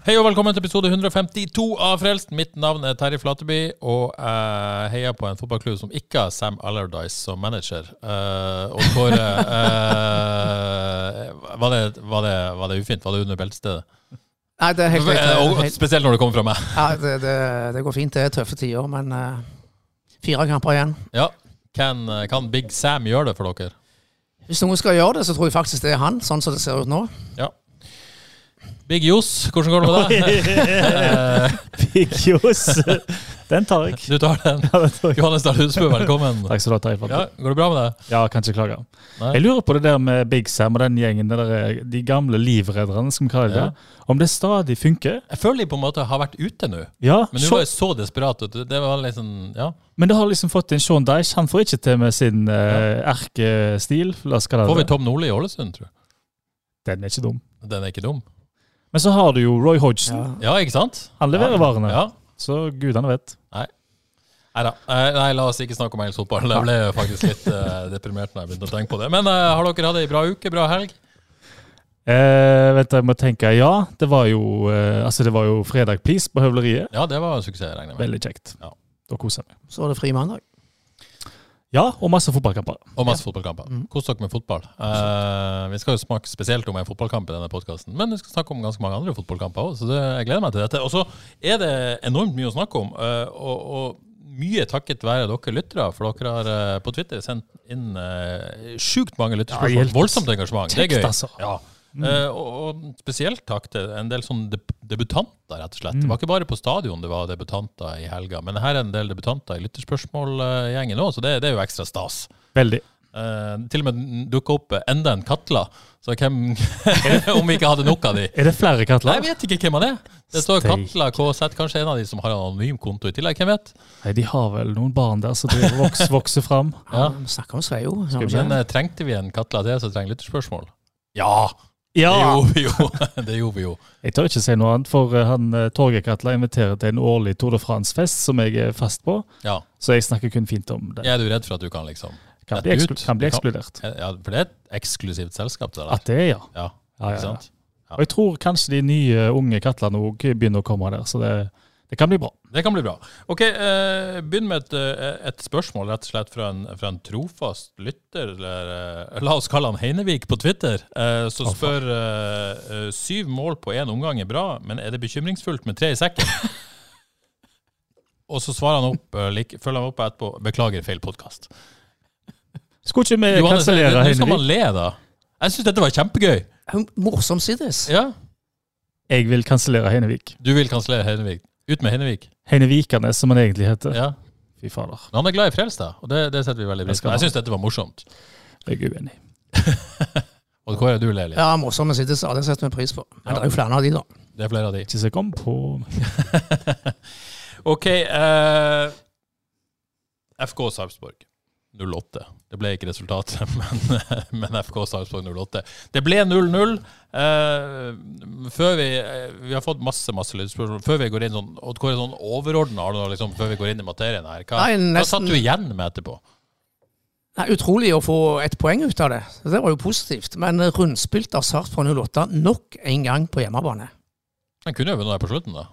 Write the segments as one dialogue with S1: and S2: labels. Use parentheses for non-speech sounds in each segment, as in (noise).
S1: Hei og velkommen til episode 152 av Frelst. Mitt navn er Terje Flateby, og jeg heier på en fotballklubb som ikke har Sam Allardyce som manager. Eh, og Kåre eh, var, det, var, det, var det ufint? Var det under beltestedet?
S2: Nei, det er helt greit.
S1: Eh,
S2: Det,
S1: og
S2: er helt-
S1: Spesielt når det kommer fra meg. (laughs)
S2: ja, det, det, det går fint. Det er tøffe tider, men eh, fire kamper igjen.
S1: Ja. Kan, kan Big Sam gjøre det for dere?
S2: Hvis noen skal gjøre det, så tror jeg faktisk det er han, sånn som det ser ut nå.
S1: Ja. Big Johs, hvordan går det
S2: (laughs)
S1: med deg? Eh,
S3: (laughs) Big Jos. Den tar jeg.
S1: Du tar
S2: (laughs)
S1: den.
S3: Ja, den tar jeg.
S1: Johannes Dahl Husbø, velkommen.
S3: Takk skal du ha, Terje.
S1: Ja,
S3: Flatby.
S1: går det bra med deg?
S3: Ja, kan ikke klage.
S1: Nei.
S3: Jeg lurer på det der med Big Sam og den gjengen, det der, eh, de gamle livredderne, som vi kaller det. Om det stadig funker?
S1: Jeg føler de på en måte har vært ute nå.
S3: Ja,
S1: Men du
S3: Sean-
S1: var jo så desperat. at du- Det var liksom, ja.
S3: men det har liksom fått inn Sean Dyche. Han får ikke til med sin eh, erkestil. La oss kalle
S1: Får vi
S3: det det.
S1: Tom Nordli i Ålesund, tror jeg.
S3: Den er ikke dum.
S1: Den er ikke dum.
S3: Men så har du jo Roy Hodgson.
S1: Ja, ikke sant?
S3: Han leverer varene.
S1: Ja.
S3: Så gudene vet.
S1: Neida. Eh, Nei, la oss ikke snakke om engelsk fotball. Jeg ble jo faktisk litt eh, deprimert når jeg begynte å tenke på det. Men eh, har dere hatt ei bra uke, bra helg?
S3: Eh, vent, jeg må tenke. Ja, det var jo, eh, altså det var jo fredag Peace på Høvleriet.
S1: Ja, det var en suksess, regner jeg med.
S3: Veldig kjekt.
S1: Ja.
S3: Da koser jeg meg.
S2: Så er det fri mandag.
S3: Ja, og masse fotballkamper.
S1: Og masse fotballkamper.
S3: Mm.
S1: Kos dere med fotball. Eh, vi skal jo snakke spesielt om en fotballkamp i denne podkasten, men vi skal snakke om ganske mange andre fotballkamper òg, så det, jeg gleder meg til dette. Og så er det enormt mye å snakke om, eh, og, og mye takket være dere lyttere, for dere har eh, på Twitter sendt inn eh, sjukt mange
S3: Ja,
S1: lytterspørsmål.
S3: hjelpes.
S1: Voldsomt engasjement. Det er
S3: Kjekt,
S1: gøy.
S3: altså.
S1: Ja. Eh, og, og spesielt takk til en del sånn deb debutanter, rett og slett.
S3: Mm.
S1: Det var ikke bare på stadion det var debutanter i helga, men her er en del debutanter i lytterspørsmålgjengen òg, så det, det er jo ekstra stas.
S3: Veldig.
S1: Eh, til og med dukka opp enda en Katla. Så hvem (laughs) Om vi ikke hadde nok av de.
S3: Er det flere
S1: Nei,
S3: Katla?
S1: jeg vet ikke hvem han er. Det står
S3: Steik.
S1: Katla KZ, kanskje en av de som har en anonym konto i tillegg. Hvem vet?
S3: Nei, de har vel noen barn der som driver og
S1: (laughs)
S3: voks, vokser fram.
S1: Ja.
S2: Vi snakker om Sveio.
S1: Men eh, trengte vi en Katla til som trenger lytterspørsmål? Ja!
S3: Ja!
S1: Det gjorde vi jo. (laughs) Det gjorde vi jo.
S3: Jeg tør ikke si noe annet, for eh, han eh, Torgeir-Katla inviterer til en årlig Tour de France-fest som jeg er fast på,
S1: Ja.
S3: så jeg snakker kun fint om det.
S1: Er du redd for at du kan liksom
S3: Kan bli,
S1: Rett
S3: eksklu
S1: ut.
S3: kan bli
S1: Du kan-
S3: ekskludert.
S1: Ja, For det er et eksklusivt selskap, det der.
S3: At det er, ja.
S1: Ja,
S3: Ja,
S1: ikke
S3: ja, ja.
S1: sant?
S3: Og jeg tror kanskje de nye unge Katlene òg begynner å komme der, så det, det kan bli bra.
S1: Det kan bli bra. Ok, eh, Begynn med et, eh, et spørsmål rett og slett fra en, fra en trofast lytter. Eller, eh, la oss kalle han Heinevik på Twitter. Eh, som
S3: Å, faen.
S1: spør eh, eh, syv mål på én omgang er bra, men er det bekymringsfullt med tre i
S3: (laughs)
S1: sekken? Og så svarer han opp, eh, like, følger han opp etterpå beklager feil podkast.
S3: Skulle ikke vi
S1: Nå
S3: kansellere
S1: skal man
S3: Heinevik?
S1: le, da. Jeg syns dette var kjempegøy.
S2: Morsom sides.
S1: Ja,
S3: Jeg vil kansellere Heinevik.
S1: Du vil kansellere Heinevik. Ut med Heinevik.
S3: Heinevikane, som han egentlig heter.
S1: Ja.
S3: Fy fader,
S1: Men han er glad i Frelst, da, og det, det setter vi veldig pris på.
S3: skal
S1: Jeg
S3: han.
S1: syns dette var morsomt.
S3: jeg er uenig.
S1: Og Kåre, du ler litt.
S2: Ja, morsomme sides. Ja, det setter vi pris på. Men det er jo flere av de, da.
S1: Det er flere av de.
S3: Ikke se kom på
S1: Ok. eh, FK Sarpsborg 08. Det ble ikke resultatet, (laughs) men, men FK Sarpsborg 08. Det ble 0-0. eh, før vi eh, Vi har fått masse masse lydspørsmål. Før vi går inn sånn, Odd Kåre, sånn overordna, liksom, før vi går inn i materien her, hva,
S2: Nei, nesten-
S1: hva satt du igjen med etterpå?
S2: Nei, utrolig å få et poeng ut av det. Så Det var jo positivt. Men eh, rundspilt av Sarpsborg 08 nok en gang på hjemmebane.
S1: Den kunne jo vunnet der på slutten, da.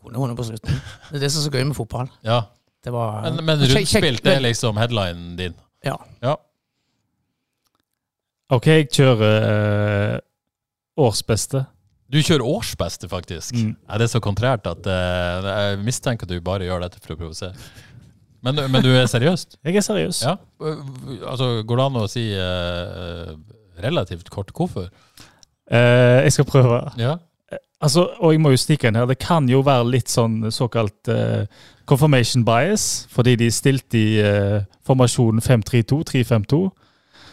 S2: Kunne vunnet på slutten. Det er det som er så gøy med fotball.
S1: Ja.
S2: Det var
S1: Men, men
S2: Kjekk-
S1: rundspilt
S2: kjekk-
S1: er liksom headlinen din.
S2: Ja.
S1: Ja.
S3: OK, jeg kjører eh, årsbeste.
S1: Du kjører årsbeste, faktisk.
S3: Mm.
S1: Er det er så kontrært at eh, jeg mistenker at du bare gjør dette for å provosere. Men, du- men du er
S3: (laughs)
S1: seriøst?
S3: Jeg er seriøs.
S1: Ja. Øh, Altså, går det an å si eh, relativt kort hvorfor?
S3: Eh, jeg skal prøve.
S1: Ja.
S3: Altså, og jeg må jo stikke inn her, det kan jo være litt sånn såkalt eh, confirmation bias, fordi de stilte i eh, formasjonen 5-3-2-3-5-2.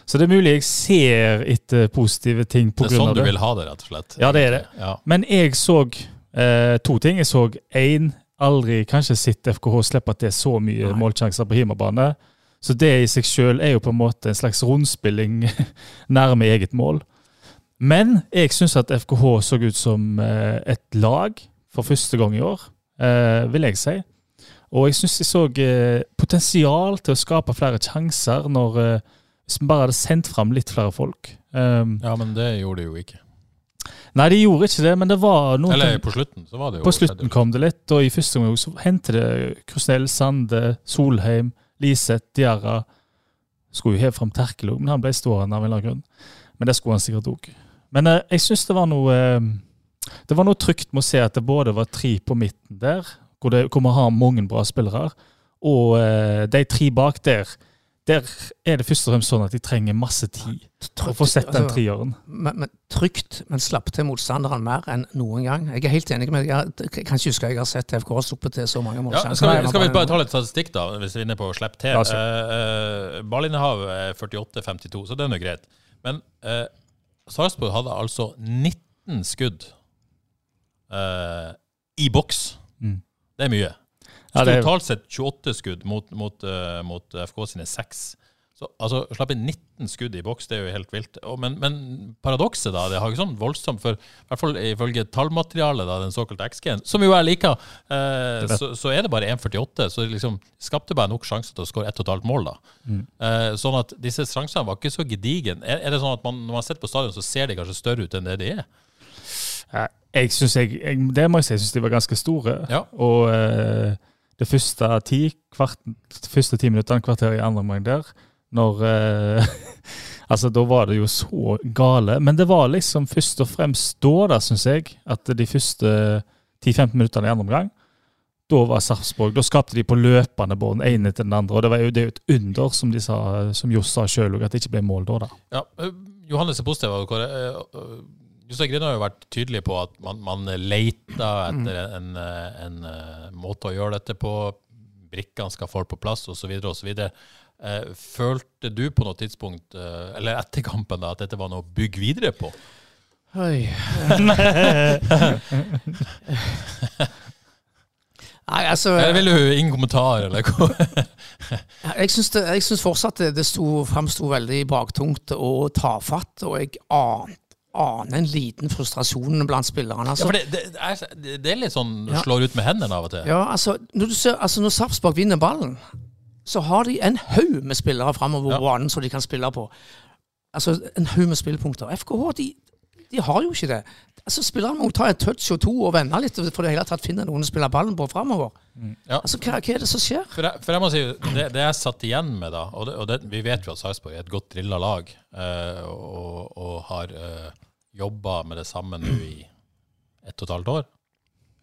S3: Så det er mulig jeg ser etter positive ting på
S1: Det er
S3: grunn
S1: sånn
S3: av
S1: du
S3: det.
S1: vil ha det, rett og slett.
S3: Ja, det er det.
S1: Ja.
S3: Men jeg så eh, to ting. Jeg så én aldri kanskje sett FKH slippe til så mye målsjanser på hjemmebane. Så det i seg sjøl er jo på en måte en slags rundspilling (laughs) nærme eget mål. Men jeg syns at FKH så ut som eh, et lag for første gang i år, eh, vil jeg si. Og jeg syns jeg så eh, potensial til å skape flere sjanser når eh, hvis vi bare hadde sendt fram litt flere folk. Um,
S1: ja, men det gjorde de jo ikke.
S3: Nei, de gjorde ikke det, men det var noen
S1: Eller
S3: ting-
S1: på slutten, så var det jo
S3: på slutten kom det litt, og i første omgang så hentet det Krusnell, Sande, Solheim, Liseth, Diarra. Skulle jo heve fram Terkel òg, men han ble stående av en eller annen grunn. Men det skulle han sikkert òg. Men eh, jeg syns det var noe eh, Det var noe trygt med å se at det både var tre på midten der, hvor, det, hvor vi har mange bra spillere, og eh, de tre bak der. Der er det først og fremst sånn at de trenger masse tid å få sett
S2: altså.
S3: den treeren.
S2: Men, men trygt, men slapp til motstanderen mer enn noen gang. Jeg er helt enig med deg. Jeg jeg kan ikke huske jeg har sett FK sluppet til så mange
S1: Ja,
S2: målsjanser.
S1: skal, vi, skal vi bare ta litt statistikk, da, hvis vi er inne på å slippe til?
S3: Ja,
S1: Uh, Ballinnehav er 48-52, så det er nå greit. Men eh, Sarpsborg hadde altså 19 skudd eh, i boks.
S3: Mm.
S1: Det er mye.
S3: Ja, det er-
S1: Totalt sett 28 skudd mot, mot, eh, mot FK sine 6. Så, altså, slapp inn 19 skudd i boks, det er jo helt vilt. Og, men men paradokset, da, det har ikke sånn voldsomt for I hvert fall ifølge tallmaterialet, da, den såkalte XG-en, som jo jeg liker, eh,
S3: Det er det.
S1: så, så er det bare 1,48. Så det liksom skapte bare nok sjanser til å skåre ett og et halvt mål, da.
S3: Mm.
S1: Eh, sånn at disse sjansene var ikke så gedigen. Er, er det sånn at man, når man sitter på stadion, så ser de kanskje større ut enn det de er?
S3: Ja, Jeg synes jeg, jeg, det må jeg si, jeg synes de var ganske store.
S1: Ja.
S3: Og eh, det første ti, kvart, de første ti minuttene, kvarter i andre omgang der, når eh, (laughs) Altså, da var det jo så gale. Men det var liksom først og fremst da, da, syns jeg, at de første 10-15 minuttene i andre omgang da var Sarpsborg Da skapte de på løpende bånd, ene etter den andre. Og det, var jo, det er jo et under, som de sa, som Johs sa sjøl òg, at det ikke ble mål da. da.
S1: Ja, eh, Johannes er positiv. og Kåre. Eh, eh, Jostein Grine har jo vært tydelig på at man, man leter etter en, eh, en eh, måte å gjøre dette på. Brikkene skal få på plass, osv. osv. Eh, Følte du på noe tidspunkt, eh, eller etter kampen, da, at dette var noe å bygge videre på? (laughs)
S2: Oi. Nei, altså
S1: Eller vil du ingen kommentar, eller hva?
S2: Jeg syns, det, jeg syns fortsatt det, det sto, framsto veldig baktungt og tafatt, og jeg an- aner en liten frustrasjon blant spillerne.
S1: Ja,
S2: Altså.
S1: for det, det, (laughs) er, det er litt sånn
S2: Ja.
S1: slår ut med hendene av og til.
S2: Ja, altså, når, du ser, altså, når Sarpsborg vinner ballen, så har de en haug med spillere framover
S1: Ja.
S2: på banen som de kan spille på. Altså, En haug med spillepunkter. FKH de, de har jo ikke det. Altså, Spillerne må ta et touch og to og vende litt for det hele tatt finne noen å spille ballen på framover.
S1: Mm, Ja.
S2: Altså, hva, hva er det som skjer?
S1: For jeg, for jeg må si, det, det jeg satt igjen med da, og, det, og det, vi vet jo at Sarpsborg er et godt drilla lag, eh, og, og har eh, jobba med det samme nå i ett og et halvt år.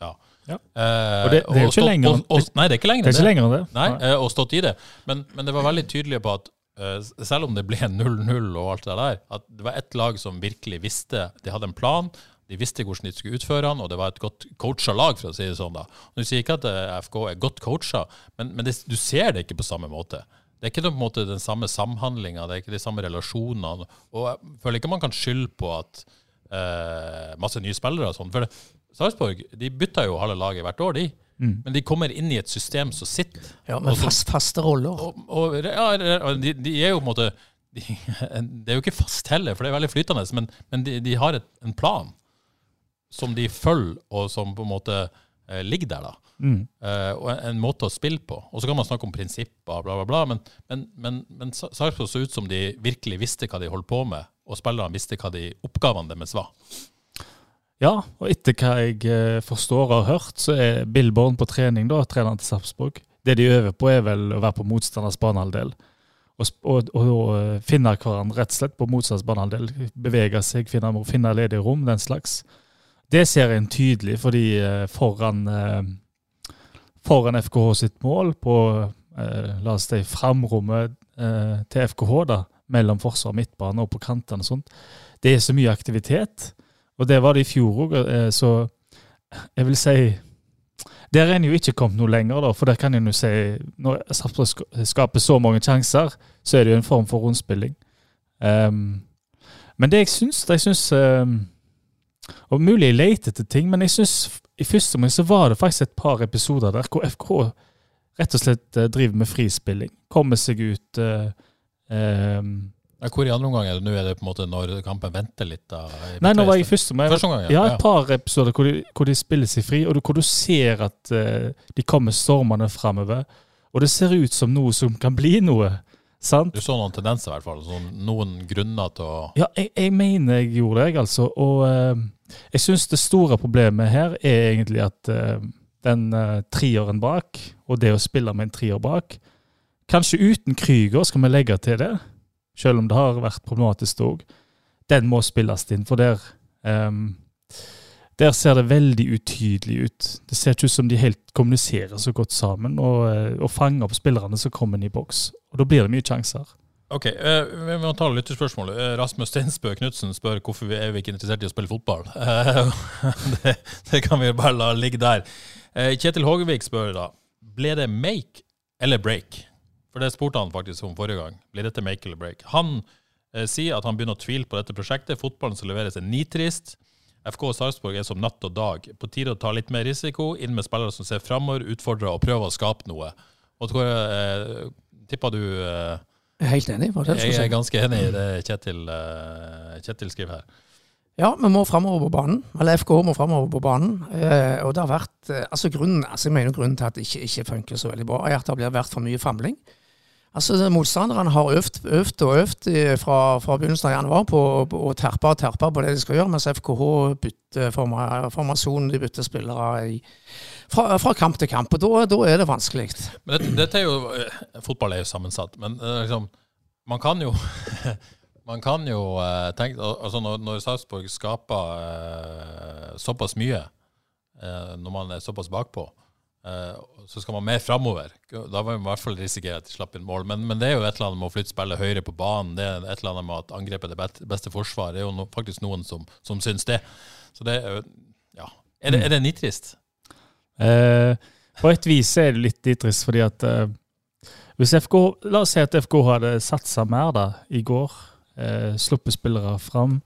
S1: Ja.
S3: Ja.
S1: Eh,
S3: Og det- det er jo ikke
S1: stått-
S3: lenger
S1: og,
S3: enn-
S1: og, Nei, det er ikke lenger
S3: Det er
S1: enn
S3: ikke lenger enn det.
S1: Nei, eh, og stått i det. Men, men det var veldig tydelig på at eh, selv om det ble (laughs) 0-0 og alt det der, at det var ett lag som virkelig visste De hadde en plan, de visste hvordan de skulle utføre den, og det var et godt coacha lag, for å si det sånn. da. Du sier ikke at eh, FK er godt coacha, men, men det, du ser det ikke på samme måte. Det er ikke den, på en måte, den samme samhandlinga, det er ikke de samme relasjonene. Og jeg føler ikke man kan skylde på at eh, masse nye spillere og sånn. For det- Sarpsborg de bytter jo halve laget hvert år, de. Men de kommer inn i et system som sitter.
S2: Ja, Med
S1: og som-
S2: fast, faste roller.
S1: og, og, ja, og de, de er jo på en måte de, (laughs) Det er jo ikke fast heller, for det er veldig flytende, men, men de, de har et, en plan som de følger, og som på en måte eh, ligger der, da. Eh, og en, en måte å spille på. Og så kan man snakke om prinsipper, bla, bla, bla, men, men, men, men Sa- Sarpsborg så ut som de virkelig visste hva de holdt på med, og spillerne visste hva de oppgavene deres var.
S3: Ja, og etter hva jeg eh, forstår og har hørt, så er Bill Born på trening, da, treneren til Sarpsborg. Det de øver på, er vel å være på motstanders banehalvdel. Og, sp- og, og, eh, finne hverandre rett og slett på motstanders banehalvdel. Bevege seg, finne, finne ledige rom, den slags. Det ser en tydelig, fordi eh, foran, eh, foran FKH sitt mål på eh, La oss si framrommet eh, til FKH, da, mellom forsvar og midtbane og på kantene og sånt, det er eh, så mye aktivitet. Og det var det i fjor òg. Så Jeg vil si Der er en jo ikke kommet noe lenger, da. For der kan en jo si Når Sarpsborg sk- skaper så mange sjanser, så er det jo en form for rundspilling. Ehm, men det jeg syns det jeg syns, ehm, Og mulig jeg leter etter ting, men jeg syns f- i første omgang så var det faktisk et par episoder der hvor FK rett og slett eh, driver med frispilling. Kommer seg ut eh, ehm,
S1: Ja, Hvor i andre omgang er det nå? Er det på en måte når kampen venter litt? da? i
S3: Nei, nå var jeg i
S1: første-
S3: første omgang.
S1: Første omgang,
S3: Ja, et par episoder hvor de, hvor de spiller seg fri, og du, hvor du ser at eh, de kommer stormende framover. Og det ser ut som noe som kan bli noe. Sant?
S1: Du så noen tendenser, i hvert fall. Sånn, noen grunner til å
S3: Ja, jeg, jeg mener jeg gjorde det, jeg, altså. Og eh, jeg syns det store problemet her er egentlig at eh, den eh, treeren bak, og det å spille med en treer bak Kanskje uten Krüger skal vi legge til det, selv om det har vært problematisk òg. Den må spilles inn, for der eh, Der ser det veldig utydelig ut. Det ser ikke ut som de helt kommuniserer så godt sammen og, eh, og fanger opp spillerne som kommer inn i boks. Og da blir det mye sjanser.
S1: Ok, eh, vi må ta lytterspørsmålet. Eh, Rasmus Stensbø Knutsen spør hvorfor vi er vi ikke interessert i å spille fotball. (laughs) Eh, det, det kan vi jo bare la ligge der. Eh, Kjetil Hågevik spør da ble det make eller break? For det spurte han faktisk om forrige gang. Blir dette make eller break? Han eh, sier at han begynner å tvile på dette prosjektet. Fotballen som leveres er nitrist. FK Sarpsborg er som natt og dag. På tide å ta litt mer risiko, inn med spillere som ser framover, utfordrer og prøver å skape noe. Og tror jeg, eh, tipper du eh,
S2: Jeg er helt enig. Var det det jeg
S1: jeg
S2: skulle
S1: er
S2: si?
S1: ganske enig i det Kjetil, eh, Kjetil skriver her.
S2: Ja, vi må framover på banen. Eller FK må framover på banen. Eh, og det har vært eh, altså grunnen, altså jeg mener grunnen til at det ikke, ikke funker så veldig bra, er at det har vært for mye famling. Altså det- Motstanderne har øvd, øvd og øvd i- fra, fra begynnelsen av januar på å- på å terpe og terpe på det de skal gjøre, mens FKH bytter forma- formasjon, de bytter spillere i, fra, fra kamp til kamp. Og da, da er det vanskelig.
S1: Men dette, dette er jo, eh, Fotball er jo sammensatt, men eh, liksom, man kan jo (laughs) Man kan jo eh, tenke al- altså Når, når Sarpsborg skaper eh, såpass mye, eh, når man er såpass bakpå, eh, så skal man mer framover. Da vil man i hvert fall risikere at de slipper inn mål. Men, men det er jo et eller annet med å flytte spillet høyere på banen, det er et eller annet med at angrepet er det bet- beste forsvar. Det er jo no, faktisk noen som, som syns det. Så det er jo Ja. Er det, er det nitrist?
S3: Eh, på et vis er det litt nitrist, fordi at eh, hvis FK, La oss si at FK hadde satsa mer da, i går. Eh, sluppet spillere fram.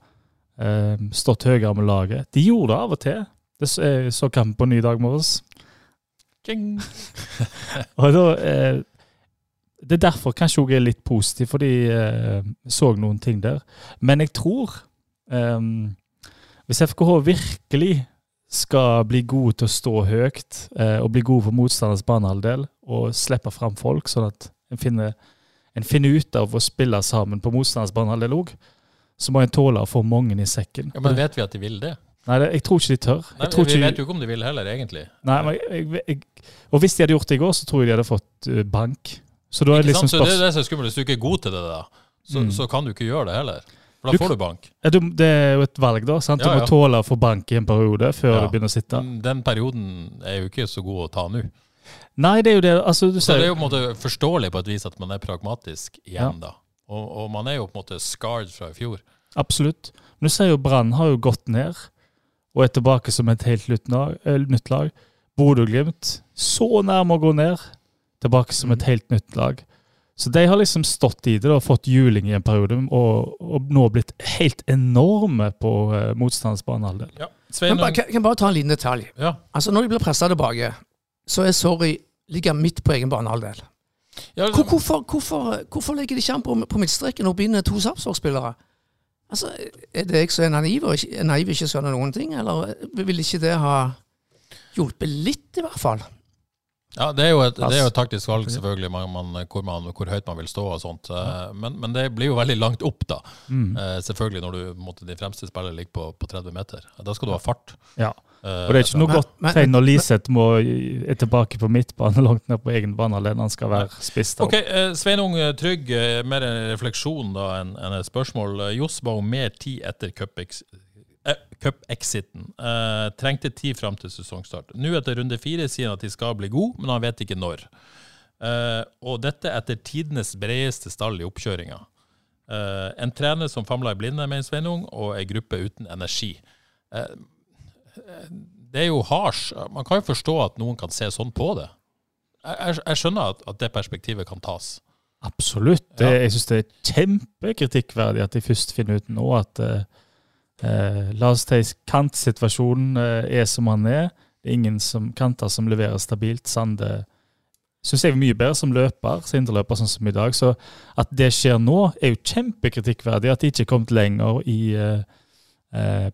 S3: Eh, stått høyere med laget. De gjorde det av og til. Det så, jeg så kampen på ny dag morges. (laughs) og da eh, Det er derfor kanskje jeg er litt positiv, fordi eh, jeg så noen ting der. Men jeg tror eh, Hvis FKH virkelig skal bli gode til å stå høyt eh, og bli gode for motstanders banehalvdel og slippe fram folk, sånn at en finner, en finner ut av å spille sammen på motstanders banehalvdel òg, så må en tåle å få mange i sekken.
S1: Ja, men vet vi at de vil det?
S3: Nei, det, jeg tror ikke de tør.
S1: Nei,
S3: jeg tror
S1: vi
S3: ikke,
S1: vet jo ikke om de vil heller, egentlig.
S3: Nei, men jeg, jeg, jeg, og hvis de hadde gjort det i går, så tror jeg de hadde fått eh, bank. Så da er det
S1: Ikke
S3: liksom
S1: sant? Så det er
S3: spørsmål
S1: det som er skummelt. Hvis du ikke er god til det, da, så,
S3: Mm.
S1: så kan du ikke gjøre det heller. For da
S3: Du kan-
S1: får du bank.
S3: Ja, du- Det er jo et valg, da. sant?
S1: Ja,
S3: Du
S1: ja.
S3: må tåle å få bank i en periode før
S1: Ja. Mm.
S3: du begynner å sitte.
S1: Men Den perioden er jo ikke så god å ta nå.
S3: Nei, det er jo det. altså du
S1: Så
S3: ser
S1: det er
S3: jo...
S1: jo på en måte forståelig på et vis at man er pragmatisk igjen, da. Og, og man er jo på en måte scarred fra i fjor.
S3: Absolutt. Men du ser jo Brann har jo gått ned og er tilbake som et helt nytt lag. eh, nytt lag. Bodø-Glimt så nærme å gå ned, tilbake som
S1: Mm.
S3: et helt nytt lag. Så de har liksom stått i det da, og fått juling i en periode, og, og nå blitt helt enorme på eh, motstanders banehalvdel.
S1: Ja.
S2: Men
S1: Svein,
S2: bare, kan, kan bare ta en liten detalj.
S1: ja.
S2: Altså Når de blir pressa tilbake, så er sorry ligger midt på egen banehalvdel.
S1: Ja,
S2: Hvor, hvorfor, hvorfor, hvorfor legger de ikke an på, på midtstreken og binder to Sarpsborg-spillere? Altså, Er det jeg som er naiv og ikke, er naiv og ikke skjønner noen ting, eller vil ikke det ha hjulpet litt, i hvert fall?
S1: Ja, det er jo et, det er jo et taktisk valg, selvfølgelig, man, man, hvor, man, hvor høyt man vil stå og sånt. Eh, Men, men det blir jo veldig langt opp, da.
S3: Mm.
S1: Eh, Selvfølgelig når du, på en måte, de fremste spillerne ligger på, på 30 meter. Da skal du ha fart.
S3: Ja.
S1: Eh,
S3: Og det er ikke noe
S2: Men-
S3: godt
S2: men-
S3: tegn når Liseth må er tilbake på midtbane, langt ned på egen banehalvdel. Han skal være spiss. da.
S1: Ok, eh, Sveinung eh, Trygg, eh, mer en refleksjon da enn enn et spørsmål. Eh, Johs ba om mer tid etter cupex- eh, cup-exiten. Eh, trengte tid fram til sesongstart. Nå etter runde fire sier han at de skal bli gode, men han vet ikke når. Eh, og dette etter tidenes bredeste stall i oppkjøringa. Eh, en trener som famler i blinde, mener Sveinung, og ei gruppe uten energi. Eh, det er jo hasj. Man kan jo forstå at noen kan se sånn på det. Jeg, jeg, jeg skjønner at, at det perspektivet kan tas.
S3: Absolutt. Det,
S1: Ja.
S3: Jeg syns det er kjempekritikkverdig at de først finner ut nå at eh, eh, Lars Theis kantsituasjon eh, er som han er. Det er ingen som, kanter som leverer stabilt. Sande syns jeg er mye bedre som løper, sinterløper, sånn som i dag. Så at det skjer nå, er jo kjempekritikkverdig. At de ikke er kommet lenger i eh, eh,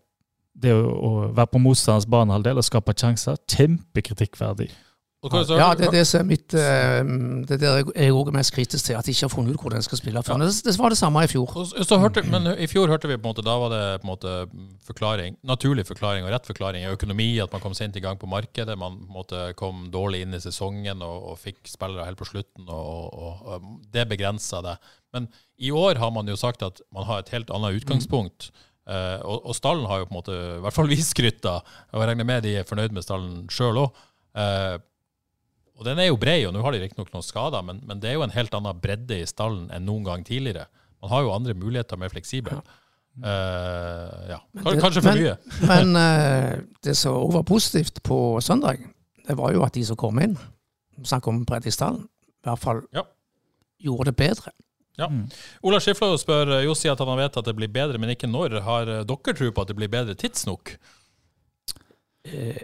S3: det å, å være på motstanders banehalvdel og skape sjanser. Kjempekritikkverdig.
S1: Og hva så-
S2: Ja, det er det som er mitt eh, Det er der jeg- jeg òg er mest kritisk til, at de ikke har funnet ut hvor den skal spille. For det, det var det samme i fjor.
S1: Og så- så hørte, men i fjor hørte vi på en måte, da var det på en måte forklaring, naturlig forklaring og rett forklaring i økonomi, at man kom sent i gang på markedet, man på en måte kom dårlig inn i sesongen og, og fikk spillere helt på slutten, og, og, og det begrensa det. Men i år har man jo sagt at man har et helt annet utgangspunkt, eh, og, og stallen har jo på en måte, i hvert fall vi skrytta, og jeg regner med de er fornøyd med stallen eh, sjøl òg. Og den er jo brei, og nå har de riktignok noen skader, men, men det er jo en helt annen bredde i stallen enn noen gang tidligere. Man har jo andre muligheter, mer fleksibel. Eh, ja. Kanskje, kanskje for
S2: men-
S1: mye.
S2: Men eh, det som òg var positivt på søndag, det var jo at de som kom inn, snakk om Breddisdalen, i hvert fall
S1: Ja.
S2: gjorde det bedre.
S1: Ja.
S2: Mm.
S1: Ola Skiflå spør eh, Jossi at han vet at det blir bedre, men ikke når. Har eh, dere tro på at det blir bedre tidsnok?
S2: Eh,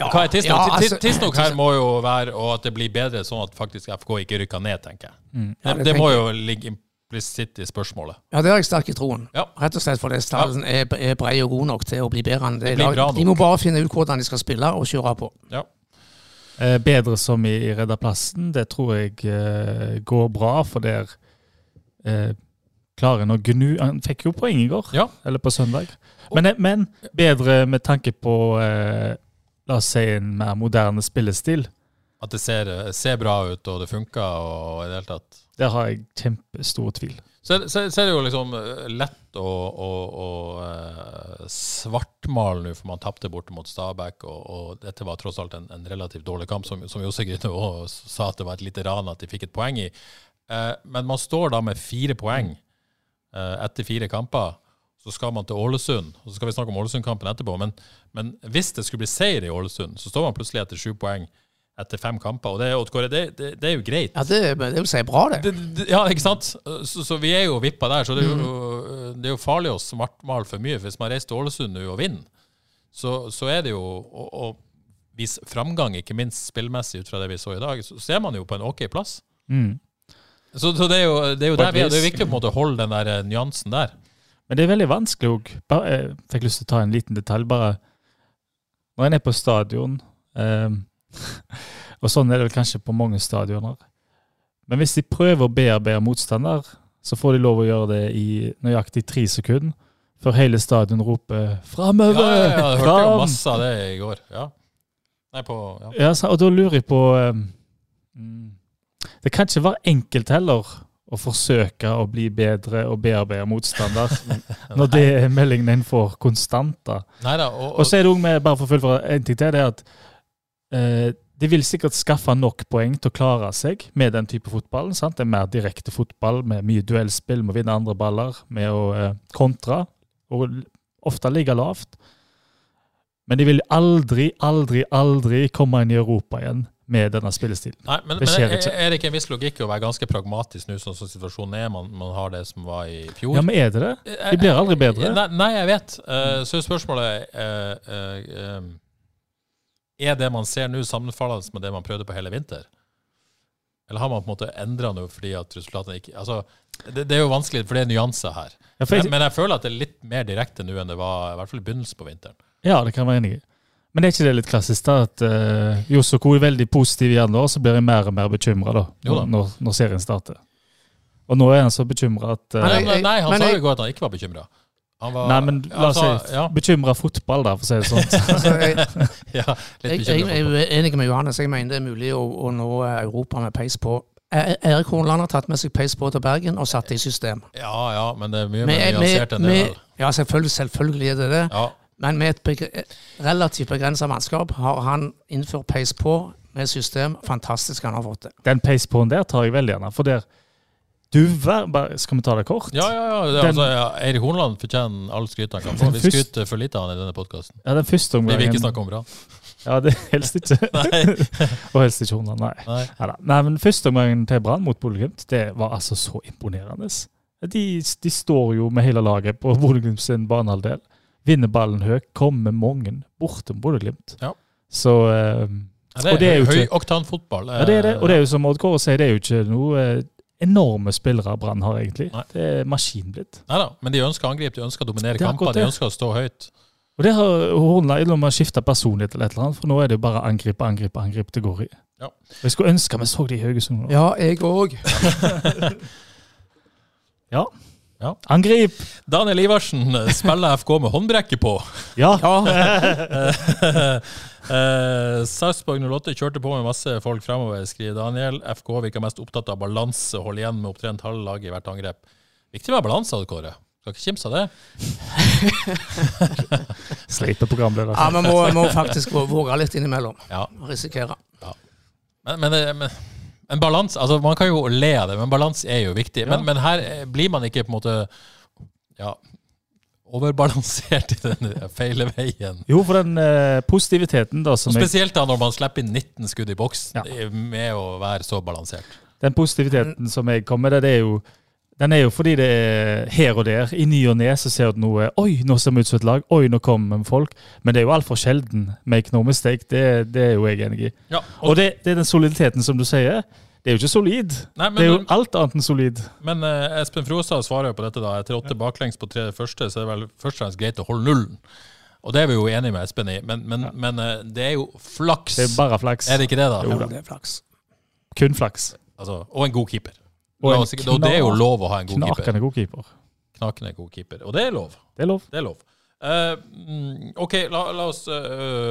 S1: Hva er tidsnok?
S2: ja,
S1: Ti- ti-
S2: altså-
S1: tidsnok her må jo være og at det blir bedre, sånn at faktisk FK ikke rykker ned, tenker jeg.
S2: Mm. Ja,
S1: det,
S2: det
S1: må jo ligge implisitt i spørsmålet.
S2: Ja, det har jeg sterk i troen.
S1: Ja.
S2: Rett og slett fordi stallen er, er brei og god nok til å bli bedre enn det.
S1: Det blir
S2: i dag.
S1: bra nok.
S2: De må bare finne ut hvordan de skal spille og kjøre på.
S1: Ja.
S3: Eh, bedre som i, i Redda plassen, det tror jeg eh, går bra, for der eh, klarer en å gnu Han fikk jo poeng i går,
S1: Ja.
S3: eller på søndag. Men, eh, men bedre med tanke på eh, La oss si en mer moderne spillestil.
S1: At det ser, eh, ser bra ut, og det funker, og i det hele tatt.
S3: Der har jeg kjempestor tvil.
S1: Så, er- så, så er det jo liksom eh, lett å, å, å eh, svartmale nå, for man tapte borte mot Stabæk, og, og dette var tross alt en, en relativt dårlig kamp, som, som Josse Grythe også sa at det var et lite ran at de fikk et poeng i. Eh, men man står da med fire poeng eh, etter fire kamper. Så skal man til Ålesund, og så skal vi snakke om Ålesund-kampen etterpå. Men, men hvis det skulle bli seier i Ålesund, så står man plutselig etter sju poeng etter fem kamper, og det, er jo- Odd Kåre, det, det, det er jo greit.
S2: Ja, Det, det vil si bra, det.
S1: Det, det, ja, ikke sant? Så, så vi er jo vippa der, så det
S3: Mm.
S1: er jo, eh, det er jo farlig å svartmale for mye. for Hvis man reiser til Ålesund nå og vinner, så, så er det jo å, å vise framgang, ikke minst spillmessig, ut fra det vi så i dag, så ser man jo på en OK plass.
S3: Mm.
S1: Så, så det er jo, det er jo
S3: På et
S1: der vi er. Det er
S3: vis.
S1: viktig å på en måte holde den der eh, nyansen der.
S3: Men det er veldig vanskelig òg. Jeg fikk lyst til å ta en liten detalj, bare. Når en er på stadion, ehm, (laughs) og sånn er det vel kanskje på mange stadioner Men hvis de prøver å bearbeide motstander, så får de lov å gjøre det i nøyaktig tre sekunder. Før hele stadion roper 'framover'!
S1: Ja, ja, ja, jeg hørte jo
S3: fram!»
S1: masse av det i går. Ja. Nei, på, ja.
S3: Ja, sa- og da lurer jeg på ehm, Det kan ikke være enkelt heller å forsøke å bli bedre og bearbeide motstander, når det er meldingen en får konstant. da.
S1: Neida, og,
S3: Og så er det også med, bare for å fullføre en ting til, det er at eh, de vil sikkert skaffe nok poeng til å klare seg med den type fotball. sant? Det er mer direkte fotball med mye duellspill, med å vinne andre baller, med å eh, kontre. Og l- ofte ligge lavt. Men de vil aldri, aldri, aldri komme inn i Europa igjen med denne spillestilen.
S1: Nei, men,
S3: Det
S1: men
S3: skjer
S1: er,
S3: ikke.
S1: er det ikke en viss logikk i å være ganske pragmatisk nå, sånn som situasjonen er? Man, man har det som var i fjor.
S3: Ja, men er det det? De blir aldri bedre.
S1: Nei, nei jeg vet. Eh, så er spørsmålet eh, eh, em, Er det man ser nå, sammenfallende med det man prøvde på hele vinter? Eller har man på en måte endra noe fordi at resultatene ikke altså, det, det er jo vanskelig, for det er nyanser her.
S3: Ja, for
S1: Men,
S3: jeg-
S1: men jeg føler at det er litt mer direkte nå enn det var i hvert fall i begynnelsen på vinteren.
S3: Ja, det kan jeg være enig i. Men er ikke det litt klassisk da, at uh, Josoko er veldig positiv i januar, så blir jeg mer og mer bekymra da,
S1: Jo da.
S3: Når, når serien starter. Og nå er han så bekymra at eh,
S1: Nei,
S2: jeg-
S1: men, nei han
S2: men
S1: sa
S2: jeg-
S1: jo i går at han ikke var bekymra.
S3: Nei, men la oss si
S1: Altså, ja, (laughs)
S3: bekymra fotball, da, for å si det sånn.
S2: Altså, jeg,
S1: ja,
S2: jeg,
S1: litt
S2: jeg,
S1: bekymret
S2: jeg
S1: for det.
S2: er enig med Johannes. Jeg mener det er mulig å, å nå eh, Europa med peis på. E- Erik Hornland har tatt med seg peis på til Bergen og satt det i system.
S1: Ja, ja, men det er mye mer
S2: Med- med-
S1: nyansert enn det.
S2: med-
S1: der.
S2: ja, selvfølgelig, selvfølgelig er det det.
S1: Ja,
S2: Men med et begre relativt begrensa mannskap har han innført peis på med system. Fantastisk han har fått det.
S3: Den pace-på-en der tar jeg veldig gjerne. For der, Du, ver- bare- Skal vi ta det kort?
S1: Ja, ja, ja. Det, er
S3: Den-
S1: altså, ja. Eirik Horneland fortjener all skryt han kan få.
S3: Den
S1: Vi
S3: først-
S1: skryter for lite av han i denne podkasten.
S3: Ja, den første
S1: Vi
S3: omgangen.
S1: vil ikke snakke om
S3: (laughs)
S1: Brann.
S3: Ja, det helst ikke.
S1: Nei.
S3: Og helst ikke Hornland, nei.
S1: Nei.
S3: Neida. Nei, men førsteomgangen til Brann mot Bodø-Glimt, det var altså så imponerende. De, de står jo med hele laget på Bodø-Glimt sin banehalvdel. Vinner ballen høyt, kommer mange bortom Bodø-Glimt.
S1: Ja.
S3: Så eh,
S1: Ja,
S3: Og det er jo ikke-
S1: høyoktanfotball.
S3: Ja, det er det. Og det er jo som Odd Kåre sier, det er jo ikke noe eh, enorme spillere Brann har, egentlig.
S1: Nei.
S3: Det er maskin blitt.
S1: eh, Neida, men de ønsker å angripe, de ønsker å dominere
S3: Det er
S1: kamper,
S3: akkurat
S1: de
S3: det.
S1: ønsker å stå høyt.
S3: Og det har Hornland eller om har skifta personlighet eller et eller annet, for nå er det jo bare angripe, angripe, angripe det går i.
S1: Ja.
S3: Og Jeg skulle ønske vi så det i Haugesund. nå.
S2: Ja, jeg òg.
S3: Angrip!
S1: Daniel Iversen eh, spiller FK med håndbrekket på.
S3: Ja.
S1: (laughs) Eh, Sarpsborg 08 kjørte på med masse folk fremover, skriver Daniel. FK virker mest opptatt av balanse, holder igjen med opptrent halve laget i hvert angrep. Viktig med balanse, Odd Kåre. Skal ikke kimse av det.
S3: Sleipe programleder.
S2: Ja, Vi må, må faktisk vå- våge litt innimellom.
S1: Ja.
S2: og Risikere.
S1: Men, men, eh, men, men balans, altså Man kan jo le av det, men balanse er jo viktig. Men, men her eh, blir man ikke på en måte ja, overbalansert i den (laughs) feile veien.
S3: Jo, for den eh, positiviteten da, som
S1: Og
S3: jeg,
S1: spesielt da når man slipper inn 19 skudd i boksen
S3: Ja.
S1: eh, med å være så balansert.
S3: den positiviteten som jeg kom med, det, det er jo den er jo fordi det er her og der. I ny og ne så ser du noe Oi, nå ser vi ut som et lag. Oi, nå kommer folk. Men det er jo altfor sjelden. Make no mistake. Det, det er jo jeg enig i.
S1: Ja,
S3: Og det, det er den soliditeten som du sier. Det er jo ikke solid.
S1: Nei, men-
S3: det er jo alt annet enn solid.
S1: Men eh, Espen Frostad svarer jo på dette. da, Etter åtte baklengs på tre første, så er det vel først og fremst greit å holde nullen. Og det er vi jo enige med Espen i, men, men, men eh, det er jo flaks.
S3: Det er bare flaks.
S1: Er det ikke det, da?
S3: Jo
S2: Ja,
S3: da.
S2: det er flaks.
S3: Kun flaks.
S1: Altså, og en god keeper.
S3: Og
S1: La
S3: en
S1: oss ikke- Og, det er jo
S3: knak-
S1: lov å ha en god keeper.
S3: Knakende god keeper.
S1: Knakende god keeper. Og det er lov.
S3: Det er lov.
S1: Det er lov. Eh, mm, OK, la, la oss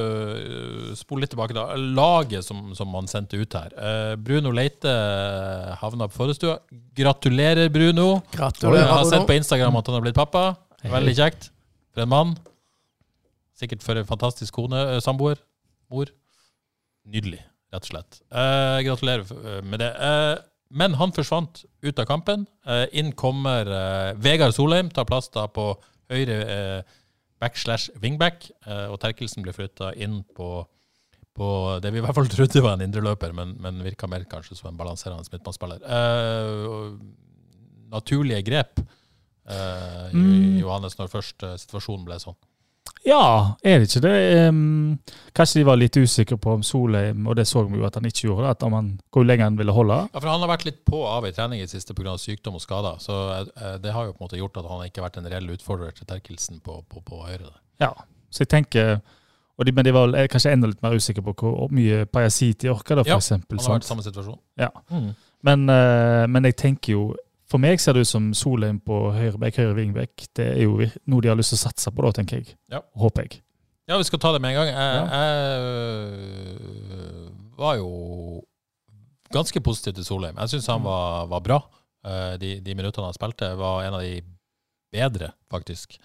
S1: eh, spole litt tilbake, da. Laget som, som man sendte ut her. Eh, Bruno Leite eh, havna på Forrestua. Gratulerer, Bruno. Jeg
S2: Gratulerer.
S1: har sett
S2: Bruno.
S1: på Instagram at han har blitt pappa. Veldig kjekt. For en mann. Sikkert for en fantastisk kone, eh, samboer, mor. Nydelig, rett og slett. Eh, gratulerer eh, med det. Eh, men han forsvant ut av kampen. Eh, inn kommer eh, Vegard Solheim, tar plass da på høyre eh, back slash wingback, eh, og Terkelsen blir flytta inn på på det vi i hvert fall trodde var en indreløper, men, men virka mer kanskje som en balanserende midtbanespiller. Eh, og naturlige grep, eh, Jo-
S3: Mm.
S1: Johannes, når først eh, situasjonen ble sånn.
S3: Ja, er det ikke det? Ehm, kanskje de var litt usikre på om Solheim, og det så vi jo at han ikke gjorde, at om han, hvor lenge han ville holde.
S1: Ja, for Han har vært litt på og av i trening i det siste pga. sykdom og skader. Så eh, det har jo på en måte gjort at han ikke har vært en reell utfordrer til Terkelsen på, på, på høyre. der.
S3: Ja, så jeg tenker og de, Men de var vel- er kanskje enda litt mer usikre på hvor mye Pajasiti orker, da, for
S1: Ja,
S3: eksempel.
S1: Han har vært i
S3: sant?
S1: samme situasjon.
S3: Ja. Men, eh, men jeg tenker jo For meg ser det ut som Solheim på høyre bekk, høyre vingbekk. Det er jo vir- noe de har lyst til å satse på, da, tenker jeg.
S1: Ja.
S3: Håper jeg.
S1: Ja, vi skal ta det med en gang. Jeg,
S3: Ja.
S1: jeg øh, var jo ganske positiv til Solheim. Jeg syns han var, var bra. Eh, De, de minuttene han spilte, var en av de bedre, faktisk.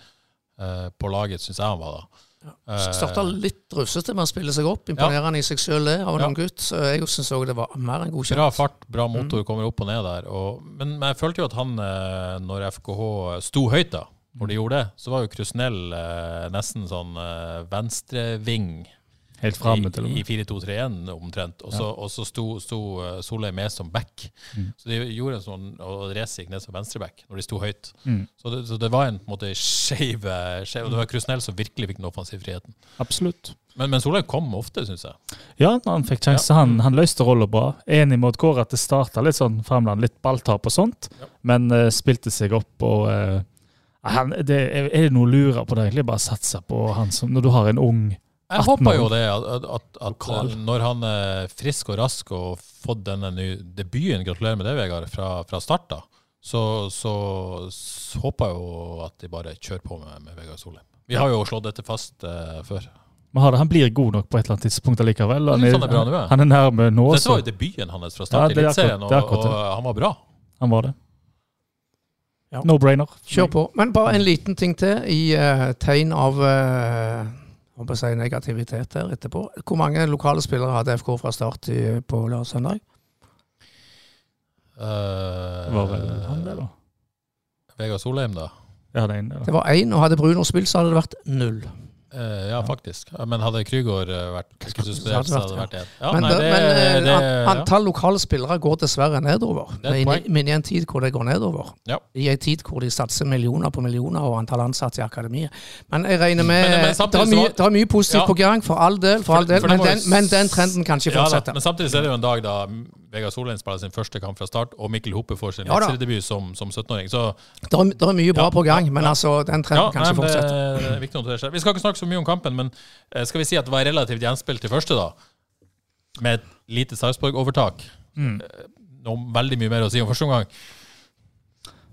S1: Eh, På laget, syns jeg han var da. Eh,
S2: Starta litt rufsete med å spille seg opp. Imponerende i seg sjøl av en
S1: Ja.
S2: ung gutt. Så jeg syns òg det var mer enn godkjent.
S1: Bra fart, bra motor, kommer opp og ned der. Og, men, men jeg følte jo at han, eh, når FKH sto høyt da, når de gjorde det, så var jo Krusnell eh, nesten sånn eh, venstreving
S3: Helt
S1: i,
S3: framme, til og
S1: i
S3: med.
S1: 4-2-3-1 omtrent. Og så, og så sto, sto eh, Solheim med som back.
S3: Mm.
S1: Så de gjorde en sånn, og Reze gikk ned som venstreback når de sto høyt.
S3: Mm.
S1: Så, det, så det var en på en måte skeiv eh, skeiv- Og det var Krusnell som virkelig fikk den offensive friheten.
S3: Absolutt.
S1: Men, men Solheim kom ofte, syns jeg.
S3: Ja, når han fikk sjanse. Han, han løste rolla bra. Enig med Odd Kåre at det starta litt sånn Framland, litt balltap og sånt, men eh, spilte seg opp og eh, han, det, Er er det noe å lure på det, egentlig? Bare satse på han som Når du har en ung
S1: Jeg
S3: 18
S1: håper
S3: år.
S1: jo det, at, at, at eh, når han er frisk og rask og fått denne nye debuten, gratulerer med det, Vegard, fra, fra start da, så, så, s- håper jeg jo at de bare kjører på med, med Vegard Solheim. Vi har jo slått dette fast eh, før.
S3: men har det, Han blir god nok på et eller annet tidspunkt allikevel. Han
S1: Jeg
S3: er,
S1: synes han er bra nå, ja.
S3: han er nærme nå,
S1: Dette
S3: så
S1: var jo debuten hans fra start i
S3: Ja, det er akkurat-
S1: Eliteserien, og,
S3: det er akkurat
S1: og
S3: det.
S1: han var bra.
S3: han var det.
S2: Ja.
S3: No-brainer.
S2: Kjør på. Men bare en liten ting til i eh, tegn av eh, hva må jeg si, negativitet der etterpå. Hvor mange lokale spillere hadde FK fra start i, på lørdag og søndag?
S1: Eh,
S3: Var vel han det, da?
S1: Vegard Solheim, da.
S3: Ja, det ene,
S2: Det
S3: da.
S2: var én, og hadde Bruno spilt, så hadde det vært null.
S1: Eh, ja, faktisk. Ja, Men hadde Krygård eh, vært ikke suspendert, så hadde det vært én. Ja,
S2: men
S1: nei,
S2: det,
S1: det,
S2: men eh,
S1: det,
S2: an-
S1: ja.
S2: antall lokale spillere går dessverre nedover.
S1: er et
S2: Men i-
S1: poeng.
S2: Men i en tid hvor det går nedover.
S1: Ja.
S2: I en tid hvor de satser millioner på millioner og antall ansatte i akademiet. Men jeg regner med
S1: Mm. Men- men samtidig
S2: det, er
S1: så
S2: mye,
S1: var-
S2: det er mye positivt
S1: Ja.
S2: på gang, for all del, for
S1: For-
S2: all del
S1: for det
S2: men,
S1: må jo
S2: den,
S1: s-
S2: men den trenden kan ikke
S1: Ja,
S2: fortsette.
S1: da, men samtidig så er det jo en dag da Vegard Solheim spiller sin første kamp fra start, og Mikkel Hoppe får sin
S2: Ja da.
S1: eliteseriedebut som, som 17-åring. Så
S2: det, er, det er mye bra
S1: Ja,
S2: på gang,
S1: ja,
S2: men
S1: ja.
S2: altså, den trenden
S1: ja,
S2: kan
S1: nei,
S2: ikke
S1: men
S2: fortsette.
S1: det er viktig å notere seg. Vi skal ikke snakke så mye om kampen, men eh, skal vi si at det var relativt gjenspilt til første, da? Med et lite Sarpsborg-overtak.
S3: Mm.
S1: Eh, Noe veldig mye mer å si om første omgang.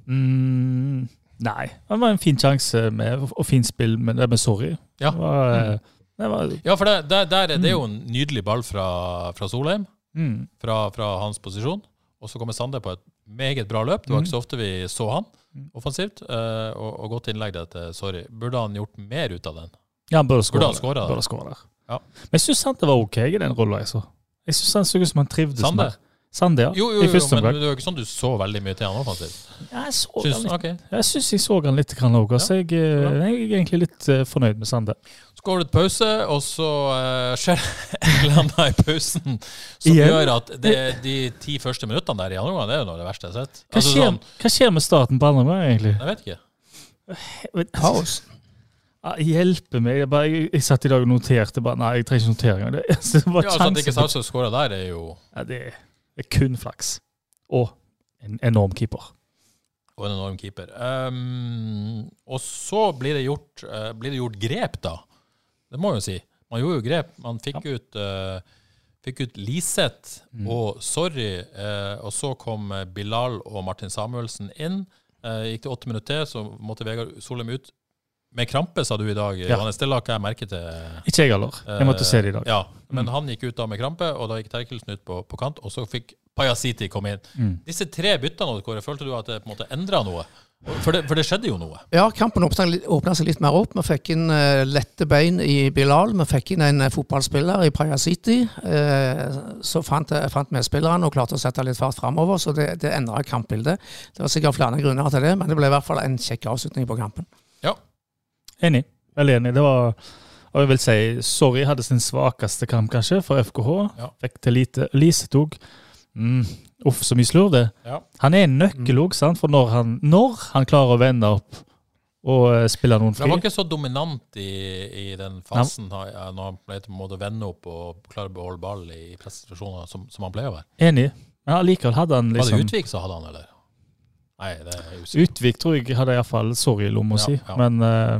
S3: Mm, nei. Det var en fin sjanse med, og fint spill, men det med sorry.
S1: Ja.
S3: Det var, eh, det var
S1: Ja, for det, der, der, er det er jo en nydelig ball fra, fra Solheim,
S3: mm,
S1: fra, fra hans posisjon. Og så kommer Sande på et meget bra løp. Det var
S3: Mm.
S1: ikke så ofte vi så han offensivt. eh, og, og godt innlegg der til Sorry. Burde han gjort mer ut av den?
S3: Ja, han burde
S1: Burde
S3: skåre.
S1: han skåre, da?
S3: Burde skåre der.
S1: Ja.
S3: Men jeg syns han det var ok i den rolla jeg så. Jeg syns han så ut som han trivdes
S1: Sande?
S3: mer. Sande, ja.
S1: Jo, jo,
S3: I
S1: jo,
S3: første
S1: men
S3: omgang.
S1: det var ikke sånn du så veldig mye til han offensivt.
S3: Ja, jeg så han
S1: Syns,
S3: litt-
S1: ok.
S3: Jeg syns jeg så han litt grann òg. Altså, jeg, eh,
S1: Ja.
S3: jeg er egentlig litt eh, fornøyd med Sande.
S1: Så går det et pause, og så eh, skjer det (laughs) et eller annet i pausen som
S3: Igjen?
S1: gjør at det, de ti første minuttene der i andre omgang, det er jo noe av det verste jeg har sett.
S3: Hva,
S1: Altså,
S3: skjer,
S1: sånn,
S3: hva skjer med starten på andre omgang, egentlig?
S1: jeg vet ikke.
S3: Kaos. Hjelpe meg. Jeg, bare, jeg, jeg satt i dag og noterte. Bare, nei, jeg trenger ikke notere engang. Det, (laughs) altså, det var
S1: Ja, altså, at
S3: sjanse
S1: ikke
S3: på-
S1: Sarpsborg skåra der, er jo
S3: ja, det, er- det er kun flaks. Og en enorm keeper.
S1: og en enorm keeper. Ehm, og så blir det, gjort, eh, blir det gjort grep, da. Det må jeg jo si. Man gjorde jo grep. Man fikk ut eh, Fikk ut Liseth og Sorry, eh, og så kom eh, Bilal og Martin Samuelsen inn. Eh, gikk det åtte minutter til, så måtte Vegard Solheim ut. Med krampe, sa du i dag,
S3: Ja.
S1: Johannes. Det la ikke jeg merke til.
S3: Ikke jeg heller. Jeg måtte se det i dag.
S1: Eh, Ja, men han gikk ut da med krampe, og da gikk Terkelsen ut på, på kant, og så fikk Pajasiti komme inn.
S3: Mm.
S1: Disse tre byttene, Odd Kåre, følte du at det på en måte endra noe? For det, for det skjedde jo noe.
S2: Ja, kampen åpna seg litt mer opp. Vi fikk inn eh, lette bein i Bilal. Vi fikk inn en eh, fotballspiller i Praia City. Eh, så fant, jeg- fant vi spillerne og klarte å sette litt fart framover, så det, det endra kampbildet. Det var sikkert flere grunner til det, men det ble i hvert fall en kjekk avslutning på kampen.
S1: Ja.
S3: Enig. Veldig enig. Det var og jeg vil si, Sorry hadde sin svakeste kamp, kanskje, for FKH.
S1: Ja.
S3: Fikk til lite. Lise tok mm, Uff, så mye slurv det.
S1: Ja. Mm.
S3: Han er en nøkkel òg, sant? for når han, når han klarer å vende opp og eh, spille noen
S1: Han
S3: fri
S1: var ikke så dominant i, i den fasen da, ja, når han ble på en måte vende opp og klare å beholde ball i prestasjoner, som, som han pleier å være.
S3: Enig. Men allikevel hadde han
S1: Var det
S3: liksom
S1: Utvik som hadde han, eller? Nei, det er jeg usikker.
S3: Utvik tror jeg hadde iallfall sorry i lomma
S1: Ja,
S3: si,
S1: ja.
S3: men eh,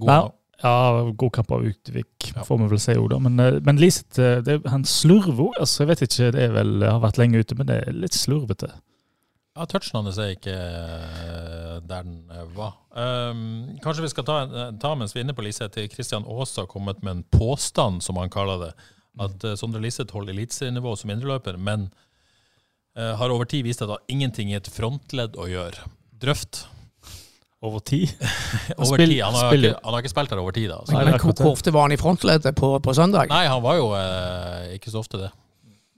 S1: God
S3: Nei,
S1: mann.
S3: ja, god kamp av Utvik,
S1: Ja.
S3: får vi vel si jo da. Men, eh, men Liseth, eh, det, han slurver òg. Altså, jeg vet ikke, det er vel, har vært lenge ute, men det er litt slurvete.
S1: Ja, touchen hans er ikke eh, der den eh, var. Ehm, kanskje vi skal ta, en- ta mens vi er inne på Liseth, til Christian Aas har kommet med en påstand, som han kaller det. At eh, Sondre Liseth holder eliteserienivå som indreløper, men eh, har over tid vist at det har ingenting i et frontledd å gjøre. Drøft.
S3: Over tid.
S1: (laughs) Over
S3: spiller-
S1: tid. Han har,
S3: spiller.
S1: ikke, han har ikke spilt her over tid, da. Så.
S2: Men
S3: Nei, det er
S2: hvor,
S3: akkurat det.
S2: hvor ofte var han i frontleddet på, på søndag?
S1: Nei, han var jo eh, ikke så ofte det.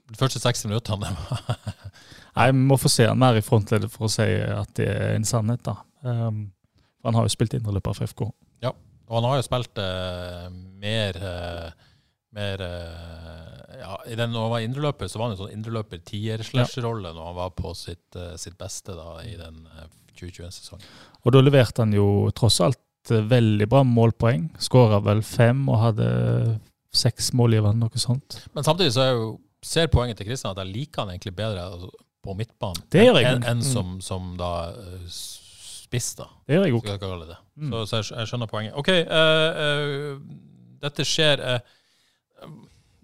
S1: De første 60 minuttene.
S3: Nei, vi må få se han mer i frontleddet for å si at det er en sannhet, da. Um, for han har jo spilt indreløper for FK.
S1: Ja, og han har jo spilt eh, mer, eh, mer eh, ja, i den, Når han var indreløper, så var han en sånn indreløper-tier-slash-rolle når han var på sitt, eh, sitt beste da, i den eh, 2021-sesongen.
S3: Og da leverte han jo tross alt eh, veldig bra målpoeng. Skåra vel fem og hadde seks målgivende, noe sånt.
S1: Men samtidig så er jo, ser poenget til Kristian at jeg liker han egentlig bedre altså, på midtbanen
S3: Det gjør
S1: enn
S3: jeg. Mm.
S1: enn- enn som, som da eh, spiss, da.
S3: Det gjør jeg òg.
S1: Skal jeg kalle det. Så, så jeg, skj- jeg skjønner poenget. OK, eh, eh, dette skjer eh,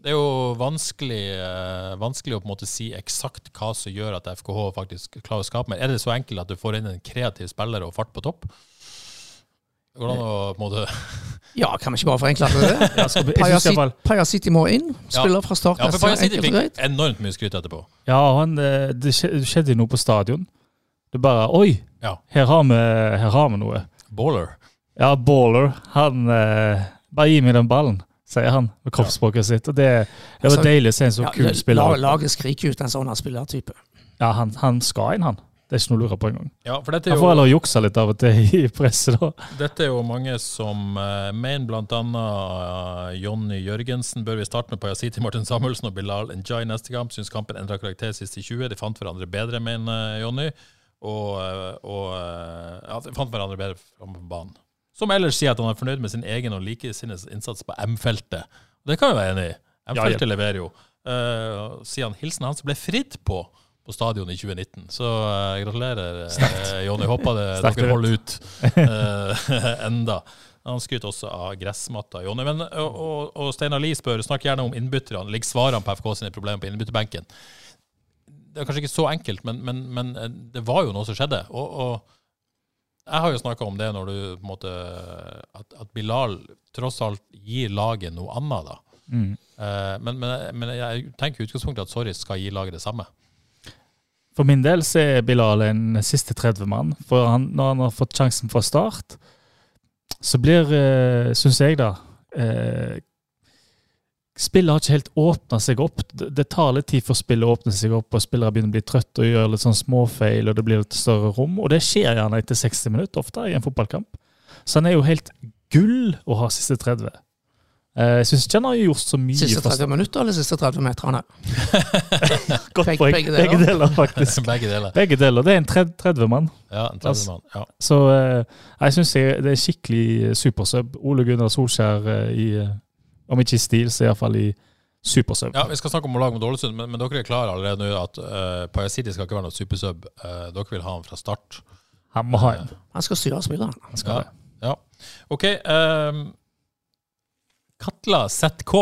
S1: Det er jo vanskelig, eh, vanskelig å på en måte si eksakt hva som gjør at FKH faktisk klarer å skape mer. Er det så enkelt at du får inn en kreativ spiller og fart på topp? Går det an å på en måte
S2: Ja, kan vi ikke bare forenkle
S3: (laughs)
S2: det?
S3: Ja, skal vi- jeg
S2: Praia
S3: synes i hvert
S2: City,
S3: fall-
S2: Praia City må inn. Spiller fra start
S1: Ja, for
S2: neste.
S1: Paja City
S2: Enkelt og greit.
S1: fikk enormt mye skryt etterpå.
S3: ja, han, eh, det skje- det skjedde jo noe på stadion. Det bare Oi,
S1: Ja.
S3: her har vi, her har vi noe.
S1: Baller.
S3: Ja, baller. Han eh, Bare gi meg den ballen, sier han med kroppsspråket sitt. Og det, det var
S2: Altså,
S3: deilig å se en så
S2: Ja,
S3: kul
S2: la-
S3: spiller.
S2: Laget skriker ut en sånn spillertype.
S3: Ja, Ja, han, han skal inn, han. Det er ikke noe å lure på engang.
S1: Ja, for dette er
S3: Han får
S1: jo
S3: heller juksa litt av og til i (laughs) presset, da.
S1: Dette er jo mange som eh, mener, blant annet eh, Jonny Jørgensen. Bør vi starte med Pajasiti, Martin Samuelsen og Bilal Njay neste kamp? Syns kampen endra karakter sist i 20. De fant hverandre bedre, mener eh, Jonny. Og, eh, og eh, ja, de fant hverandre bedre framme på banen. Som ellers sier at han er fornøyd med sin egen og likesinnes innsats på M-feltet. Det kan vi være enig i.
S3: Ja, ja.
S1: M-feltet leverer jo. Eh, sier han hilsen hans ble fridd på på stadion i 2019. Så eh, gratulerer, eh, Jonny. Håper det,
S3: Sterkt
S1: dere
S3: levert.
S1: holder ut eh, (laughs) enda. Han skryter også av gressmatta. Jonny. Men, og og, og Steinar Lie spør snakk gjerne om innbytterne. Ligger svarene på FK sine problemer på innbytterbenken? Det er kanskje ikke så enkelt, men, men, men eh, det var jo noe som skjedde. Og, og jeg har jo snakka om det når du på en måte at, at Bilal tross alt gir laget noe annet, da. Eh, men, men, men jeg tenker i utgangspunktet at Sorry skal gi laget det samme.
S3: For min del så er Bilal en siste 30-mann. For han, når han har fått sjansen fra start, så blir, eh, syns jeg da eh, Spillet har ikke helt åpna seg opp. Det det tar litt tid for spillet å åpne seg opp, og spillere begynner å bli trøtte og gjør litt sånn småfeil, og det blir litt større rom. Og det skjer gjerne etter 60 minutter ofte i en fotballkamp. Så han er jo helt gull å ha siste 30. Eh, Jeg syns ikke han har gjort så mye
S2: Siste
S3: fra
S2: 30 minutter eller siste 30 meterne?
S3: start. Godt
S2: Begge-
S3: poeng.
S2: begge deler.
S3: Begge deler, faktisk.
S1: Begge deler.
S3: Begge deler. Det er en 30-mann.
S1: Ja, en
S3: Altså-
S1: 30-mann. Ja.
S3: Så eh, jeg syns det er skikkelig eh, supersub. Ole Gunnar Solskjær eh, i eh, Om ikke i stil, så iallfall i supersub.
S1: Ja, Vi skal snakke om å lage mot Ålesund, men, men dere er klare allerede nå at uh, Pajasiti skal ikke være noe supersub. Eh, dere vil ha han fra start.
S3: Han må ha en.
S2: Han skal styre spilleren.
S3: Han skal det.
S1: Ja. ja. OK. ehm, Katla ZK.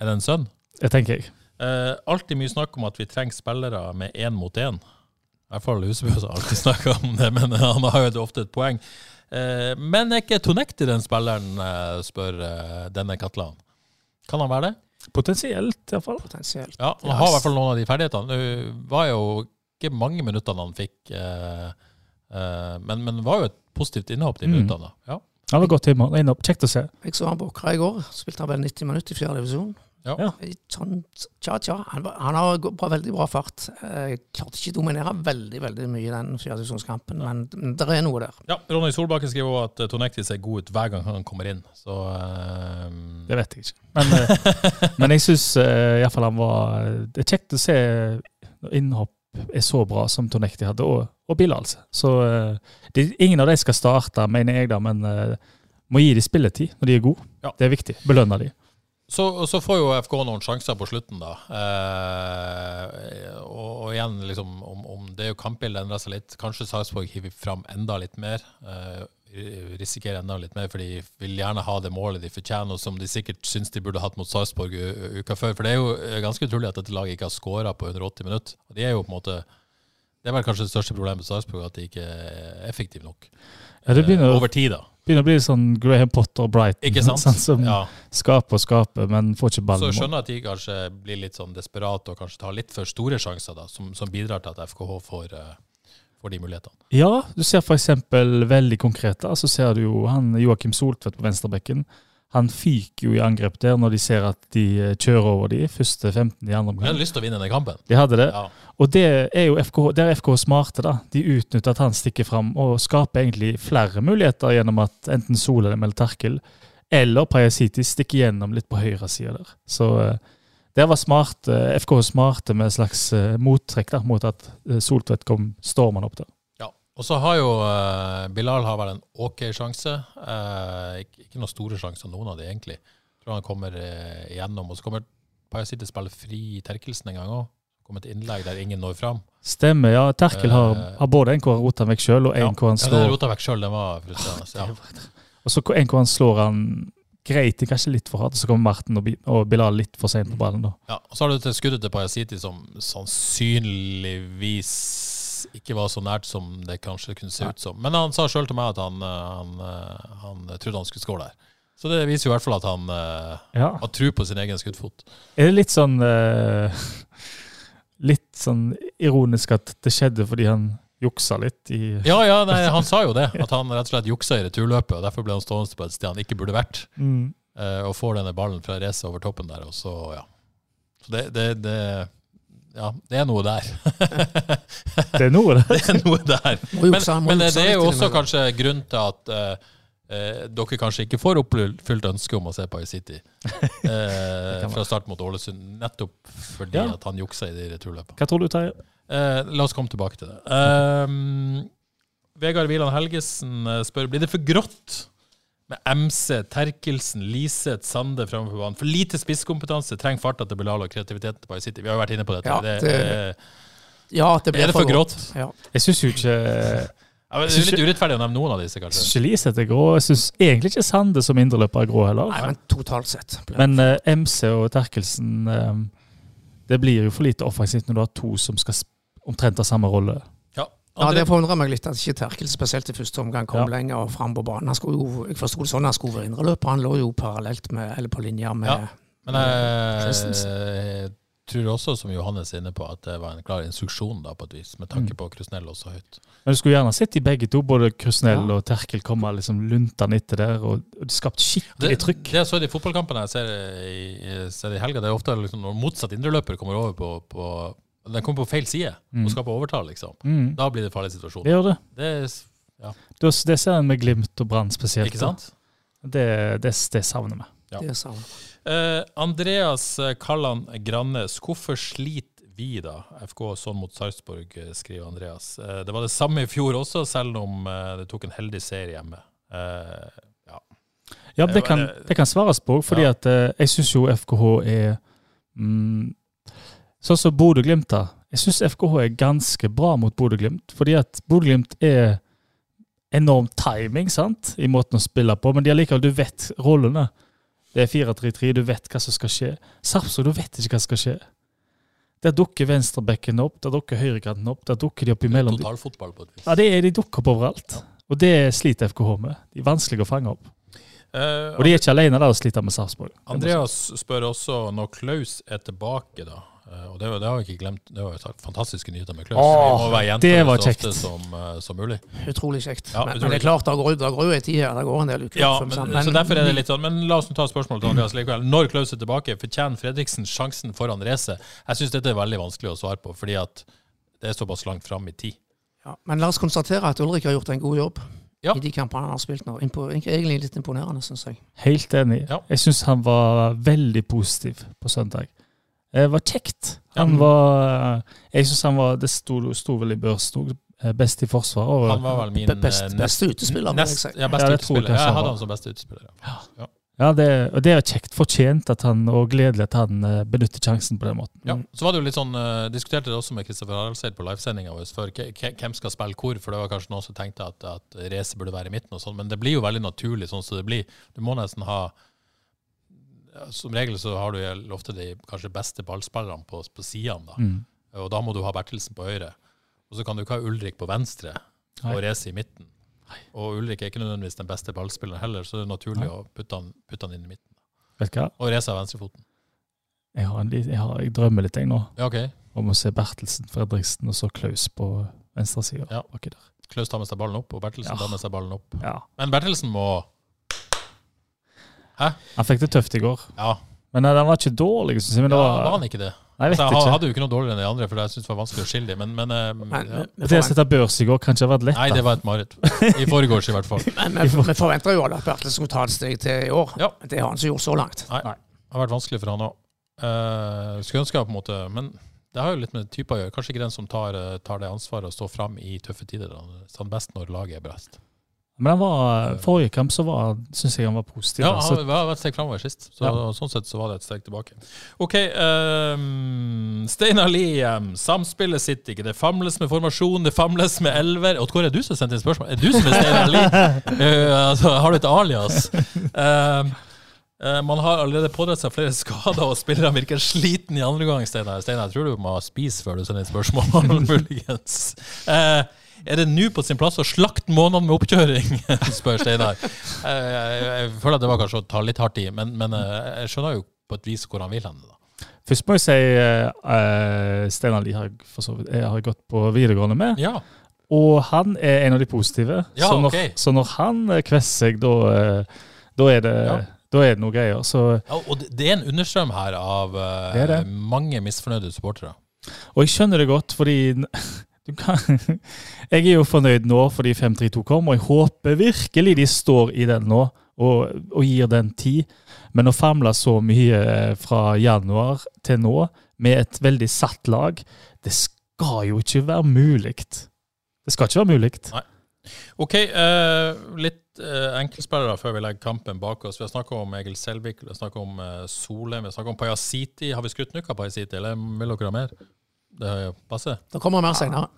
S1: Er det en sønn?
S3: Det tenker jeg.
S1: Uh, alltid mye snakk om at vi trenger spillere med én mot én. I hvert fall Husebø har alltid snakka om det, men han har jo ofte et poeng. Eh, men er ikke Tonekti den spilleren, eh, spør eh, denne Katlan. Kan han være det?
S3: Potensielt, iallfall.
S2: Potensielt.
S1: Ja, han har i hvert fall noen av de ferdighetene. Det var jo ikke mange minuttene han fikk, eh, eh, men, men det var jo et positivt innhopp de
S3: Mm.
S1: minuttene. Ja.
S3: Han var godt humør. Inn opp. Kjekt å se.
S2: Jeg så han på Åkra i går. Spilte han vel 90 minutter i fjerde divisjon.
S1: Ja.
S3: Ja.
S2: I Sånn, tja, tja. Han, var- han har gå- bra, veldig bra fart. Eh, klarte ikke å dominere veldig veldig mye i den fjerde divisjonskampen, men det er noe der.
S1: ja, Ronny Solbakken skriver også at eh, Tonekti ser god ut hver gang han kommer inn, så eh,
S3: Det vet jeg ikke. Men,
S1: (laughs)
S3: eh, men jeg syns iallfall han var eh, Det er kjekt å se når innhopp er så bra som Tonekti hadde, og, og Bilal. Altså. Så eh, de, ingen av de skal starte, mener jeg, da, men eh, må gi de spilletid når de er gode.
S1: Ja.
S3: Det er viktig. Belønne de.
S1: Så, så får jo FK noen sjanser på slutten, da. Eh, og, og igjen, liksom, om, om det er jo kampbildet endrer seg litt. Kanskje Sarpsborg hiver fram enda litt mer. Eh, risikerer enda litt mer, for de vil gjerne ha det målet de fortjener, og som de sikkert syns de burde hatt mot Sarpsborg u- uka før. For det er jo eh, ganske utrolig at dette laget ikke har skåra på 180 minutter. Og de er jo på en måte Det er vel kanskje det største problemet med Sarpsborg, at de ikke er effektive nok.
S3: Ja, det
S1: Eh,
S3: begynner,
S1: Over tid, da.
S3: begynner å bli sånn Graham Potter og Brighton. (laughs)
S1: Ikke sant?
S3: sånn som
S1: Ja.
S3: skaper og skaper, men får ikke
S1: Så
S3: ballen.
S1: jeg
S3: i mål.
S1: skjønner at de kanskje blir litt sånn desperate og kanskje tar litt for store sjanser, da, som, som bidrar til at FKH får, eh, får de mulighetene.
S3: Ja, du ser for eksempel veldig konkret. da, Så ser du jo han Joakim Soltvedt på venstrebekken. Han fyker jo i angrep der når de ser at de eh, kjører over de første 15
S1: Men
S3: i andre
S1: jeg
S3: omgang.
S1: hadde lyst til å vinne denne kampen.
S3: De hadde det.
S1: Ja.
S3: Og det er jo FK, der er FK smarte, da. De utnytter at han stikker fram og skaper egentlig flere muligheter gjennom at enten Solheim eller Terkel eller Pajasiti stikker gjennom litt på høyresida der. Så eh, der var smart, eh, FK smarte med et slags eh, mottrekk da, mot at eh, Soltvedt kom stormende opp der.
S1: Ja. Og så har jo eh, Bilal har vel en ok sjanse. Eh, ikke, ikke noen store sjanser, noen av de egentlig. Jeg tror han kommer eh, igjennom. Og så kommer Pajasiti til å spille fri i Terkelsen en gang òg. Kommer et innlegg der ingen når fram.
S3: Stemmer, ja. Terkel har,
S1: Eh.
S3: har både en hvor han roter han vekk sjøl, og en
S1: Ja.
S3: hvor han
S1: Ja, den
S3: slår
S1: rota vekk sjøl, den var frustrerende. Ja.
S3: Og så en hvor han slår han greit, kanskje litt for hardt, og så kommer Marten og, Bi- og Bilal litt for seint på ballen, da.
S1: Ja, og så har du til skuddet til Pajasiti som sannsynligvis ikke var så nært som det kanskje kunne se ut som. Men han sa sjøl til meg at han, eh, han, eh, han trodde han skulle skåre der. Så det viser jo i hvert fall at han eh,
S3: Ja.
S1: har tro på sin egen skuddfot.
S3: Er det litt sånn eh, Litt sånn ironisk at det skjedde fordi han juksa litt i
S1: Ja, ja, nei, han sa jo det. At han rett og slett juksa i returløpet. og Derfor ble han stående på et sted han ikke burde vært.
S3: mm.
S1: eh, Og får denne ballen fra racet over toppen der, og så, ja. Så det, det, det Ja, det er noe der. (laughs)
S3: Det er noe, det.
S1: Det er noe der.
S2: Må
S1: Men,
S2: jukse- må
S1: men
S2: jukse
S1: det er
S2: litt
S1: jo også
S2: innimellom.
S1: kanskje grunnen til at eh, eh, dere kanskje ikke får oppfylt ønsket om å se Pie City eh, fra start mot Ålesund, nettopp fordi
S3: Ja.
S1: at han juksa i de returløpene.
S3: Hva tror du, Terje?
S1: Eh, la oss komme tilbake til det. Ehm, Vegard Wieland Helgesen eh, spør blir det for grått med MC, Terkelsen, Liseth, Sande framfor banen. For lite spisskompetanse, trenger farta til Bilal og kreativiteten til Pie City. Vi har jo vært inne på dette.
S2: Ja,
S1: det,
S2: det-
S1: eh,
S2: Ja, at det ble
S1: er det for grått?
S2: Ja.
S3: Jeg syns jo ikke
S1: Ja, men det er litt urettferdig å nevne noen av disse, kanskje.
S3: Geliseth er grå. Jeg syns egentlig ikke Sande som indreløper er grå heller.
S2: Nei, men totalt sett. ble-
S3: Men eh, MC og Terkelsen eh, Det blir jo for lite offensivt når du har to som skal sp- omtrent ha samme rolle.
S1: Ja,
S2: Ja,
S1: André,
S2: Det forundrer meg litt at ikke Terkel spesielt i første omgang kom
S3: Ja.
S2: lenger fram på banen. Han skulle jo, jeg forsto det sånn, han skulle være indreløper. Han lå jo parallelt med, eller på linje med
S1: Ja. men jeg eh,
S2: Christensen.
S1: tror også, som Johannes er inne på, at det var en klar instruksjon, da, på et vis, med tanke på Krusnell også høyt.
S3: Men du skulle gjerne sett de begge to, både Krusnell
S2: Ja.
S3: og Terkel, komme liksom luntende etter der. Og, og det skapte
S1: Det,
S3: skikkelig trykk.
S1: det jeg så i de fotballkampene jeg ser i, ser i helga, det er ofte liksom når motsatt indreløper kommer over på, på Den kommer på feil side og skaper overtall, liksom.
S3: Mm.
S1: Da blir det farlig situasjon.
S3: Det gjør det.
S1: Det er, s-
S3: Det, det ser en med Glimt og Brann spesielt.
S1: ikke sant?
S3: Det, det, det savner vi.
S1: Ja.
S2: det sa han.
S1: Eh, Andreas Kalland Grannes, hvorfor sliter vi da? FK sånn mot Sarpsborg, eh, skriver Andreas. Eh, det var det samme i fjor også, selv om eh, det tok en heldig serie hjemme. Eh, ja.
S3: Ja,
S1: Det
S3: det
S1: var
S3: kan,
S1: Eh, det-
S3: det kan svares på, fordi
S1: Ja.
S3: at eh, jeg syns jo FKH er mm, Sånn som Bodø-Glimt, da. Jeg syns FKH er ganske bra mot Bodø-Glimt, fordi at Bodø-Glimt er enorm timing sant, i måten å spille på, men de allikevel, du vet rollene. Det er 4-3-3, du vet hva som skal skje. Sarpsborg, du vet ikke hva som skal skje. Der dukker venstrebekken opp, der dukker høyrekanten opp, der dukker de opp imellom.
S1: Totalfotball på et vis.
S3: Ja, det er, de dukker opp overalt. Og det sliter FKH med. De er vanskelig å fange opp.
S1: Eh,
S3: Og de er ikke alene der og sliter med Sarpsborg.
S1: Andreas spør også når Klaus er tilbake, da. Eh, Og det, var- det har vi ikke glemt. Det var jo tak- fantastiske nyheter med Klaus.
S3: Åh,
S1: vi må være gjentatt
S3: det var
S1: så ofte
S3: kjekt.
S1: som, eh, som mulig.
S2: Utrolig kjekt.
S1: Ja,
S2: men,
S1: utrolig
S2: men det er klart, det går, det går jo en tid her. Det går en del uker.
S1: Ja,
S2: før vi
S1: men,
S2: sammen-
S1: så derfor er det litt sånn, men la oss nå ta spørsmålet til Andreas likevel. Når Klaus er tilbake, fortjener Fredriksen sjansen foran racet? Jeg syns dette er veldig vanskelig å svare på, fordi at det er såpass langt fram i tid.
S2: ja, Men la oss konstatere at Ulrik har gjort en god jobb
S1: Ja.
S2: i de kampene han har spilt nå. Impo, egentlig litt imponerende, syns jeg.
S3: Helt enig.
S1: Ja.
S3: Jeg syns han var veldig positiv på søndag. Det var kjekt. Han
S1: Ja.
S3: var eh, Jeg syns han var Det sto, sto vel i børsen òg. Best i forsvaret. og-
S1: Han var vel min
S2: Be- best-
S1: eh,
S2: beste utespiller, må jeg
S1: Nest,
S2: si.
S1: ja, beste
S3: Ja, det tror jeg
S1: utespiller. Ja,
S3: kanskje
S1: jeg
S3: han
S1: hadde
S3: var.
S1: han som beste utespiller. Ja.
S3: Ja, det, og det er kjekt. Fortjent at han, og gledelig at han eh, benytter sjansen på den måten.
S1: Ja. Så var det jo litt sånn, eh, diskuterte det også med Kristoffer Haraldseid på livesendinga vår før. K- k- Hvem skal spille hvor? For det var kanskje noen som tenkte at, at Race burde være i midten og sånn, men det blir jo veldig naturlig sånn som det blir. Du må nesten ha ja, Som regel så har du jo ofte de kanskje beste ballspillerne på, på sidene, da.
S3: Mm.
S1: Og da må du ha Bertelsen på høyre. Og så kan du ikke ha Ulrik på venstre
S3: Nei.
S1: og Race i midten. Og Ulrik er ikke nødvendigvis den beste ballspilleren heller, så det er naturlig å putte han, putte han inn i midten.
S3: Vet du hva?
S1: Og Race har venstrefoten.
S3: Jeg, har en, li- jeg, har, jeg drømmer litt, jeg nå,
S1: Ja, OK.
S3: om å se Bertelsen, Fredriksen og så Klaus på venstresida.
S1: Ja.
S3: Baki der.
S1: Klaus tar med seg ballen opp, og Bertelsen
S3: Ja.
S1: tar med seg ballen opp.
S3: Ja.
S1: Men Bertelsen må
S3: Han fikk det tøft i går.
S1: Ja,
S3: Men eh, han var ikke dårlig, syns jeg. Men
S1: ja
S3: det
S1: var,
S3: var,
S1: han ikke det?
S3: Nei, jeg vet
S1: Altså, han
S3: ikke.
S1: hadde jo ikke noe dårligere enn de andre, for jeg synes det var vanskelig å skille dem. Men, men, eh,
S2: Men
S1: ja.
S2: vi,
S3: Det å
S2: forventer,
S3: sette børs i går kan ikke ha vært lett.
S1: Nei,
S3: da.
S1: det var et mareritt. I forgårs, i hvert
S3: (laughs)
S1: fall. Det
S2: men, vi, vi forventer jo alle at Bertelsen skulle ta et steg til i år.
S1: Ja.
S2: Det har han ikke gjort så langt.
S1: har vært vanskelig for han òg. skulle ønske jeg på en måte Men det har jo litt med typer å gjøre. Kanskje ikke den som tar, eh, tar det ansvaret og står fram i tøffe tider. da. Så han er sånn best når laget er best.
S3: Men han var, forrige kamp så var, synes jeg han var positiv.
S1: Ja,
S3: da.
S1: han
S3: så,
S1: var et steg framover sist, så
S3: Ja.
S1: sånn sett så var det et steg tilbake. OK. Um, Steinar Liem, samspillet sitter ikke. Det famles med formasjon, det famles med elver. Og hvor er du som sendte inn spørsmål? Er du som er Steinar Liem?
S3: (laughs)
S1: Eh, altså, har du et alias? Um, eh, man har allerede pådratt seg flere (laughs) skader, og spillerne virker sliten i andre gang. Steinar, Steinar, jeg tror du må spise før du sender inn spørsmål, (laughs) muligens. Eh, er det nå på sin plass å slakte månedene med oppkjøring, (laughs) spør Steinar. Eh, Jeg, jeg, jeg føler at det var kanskje å ta litt hardt i, men, men eh, jeg skjønner jo på et vis hvor han vil hen. da.
S3: Først må jeg si uh, Steinar Lie har jeg for så vidt- jeg har gått på videregående med,
S1: Ja,
S3: og han er en av de positive.
S1: Ja,
S3: så, når,
S1: ok.
S3: så når han eh, kvesser seg, da, eh, da, er det,
S1: Ja.
S3: da er det noe greier. Så,
S1: ja og det, det er en understrøm her av eh,
S3: Det er det.
S1: mange misfornøyde supportere.
S3: Og jeg skjønner det godt, fordi n- (laughs) du kan, (laughs) Jeg er jo fornøyd nå fordi 5-3-2 kom, og jeg håper virkelig de står i den nå og, og gir den tid. Men å famle så mye eh, fra januar til nå med et veldig satt lag, det skal jo ikke være mulig. Det skal ikke være mulig.
S1: OK, eh, litt eh, enkeltspillere før vi legger kampen bak oss. Vi har snakka om Egil Selvik, vi har snakka om eh, Solheim, vi har snakka om Pajasiti. Har vi skutt nukka Pajasiti, eller vil dere ha mer? Det passer?
S2: Det kommer mer senere.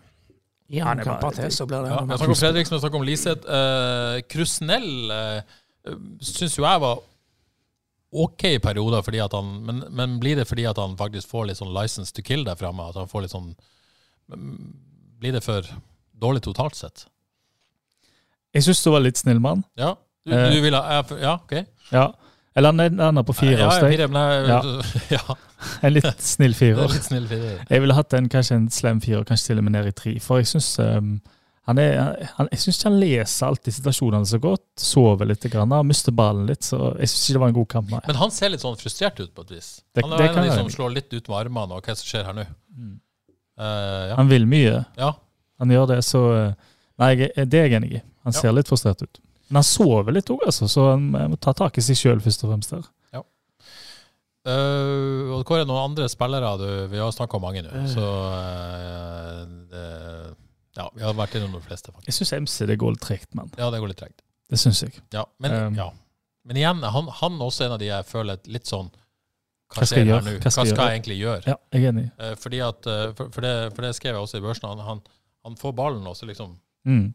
S2: Gi han kamper til, så blir det
S1: Ja, vi har snakket om Fredriksen, vi har snakket om Liseth. Uh, Krusnell uh, syns jo jeg var OK i perioder, fordi at han, men, men blir det fordi at han faktisk får litt sånn license to kill der framme? At han får litt sånn mm, Blir det for dårlig totalt sett?
S3: Jeg syns du var litt snill mann.
S1: Ja, du,
S3: Eh.
S1: du vil ha jeg- Ja, OK.
S3: Ja. Eller han lander på fire
S1: ja,
S3: hos
S1: jeg
S3: deg.
S1: fire, men jeg, (laughs)
S3: Ja.
S1: ja.
S3: En litt snill
S1: det er (laughs)
S3: firer.
S1: litt snill firer.
S3: Jeg ville hatt en, kanskje en slem firer, kanskje til og med ned i tre. For jeg syns um, han er, han, jeg synes ikke han leser alltid situasjonene så godt. Sover litt, grann, han mister ballen litt. Så jeg syns ikke det var en god kamp. Nei.
S1: Men han ser litt sånn frustrert ut på et vis.
S3: Det-
S1: han er
S3: det
S1: en
S3: kan
S1: av de
S3: være.
S1: som slår litt ut med armene, og hva er det som skjer her nå? Eh, ja.
S3: Han vil mye.
S1: ja.
S3: Han gjør det, så uh, Nei, jeg, det er jeg enig i. Han
S1: Ja.
S3: ser litt frustrert ut. Men han sover litt òg, altså, så han eh, må ta tak i seg sjøl først og fremst. der.
S1: Eh, og Kåre, noen andre spillere du Vi har snakka om mange nå, så eh, det- Ja, vi har vært innom de fleste, faktisk.
S3: Jeg syns MC det går litt tregt, mann.
S1: Ja, det går litt tregt.
S3: Det syns jeg.
S1: Ja, men,
S3: Um,
S1: ja. men igjen, han, han er også en av de jeg føler et litt sånn Hva
S3: Hva skal
S1: skjer
S3: jeg
S1: her nå?
S3: gjøre?
S1: Hva
S3: Hva
S1: skal
S3: skal jeg
S1: jeg egentlig gjøre?
S3: Ja, jeg er enig.
S1: Eh, Fordi at, eh, for, for, det, for det skrev jeg også i børsen. Han, han, han får ballen også, liksom.
S3: Mm.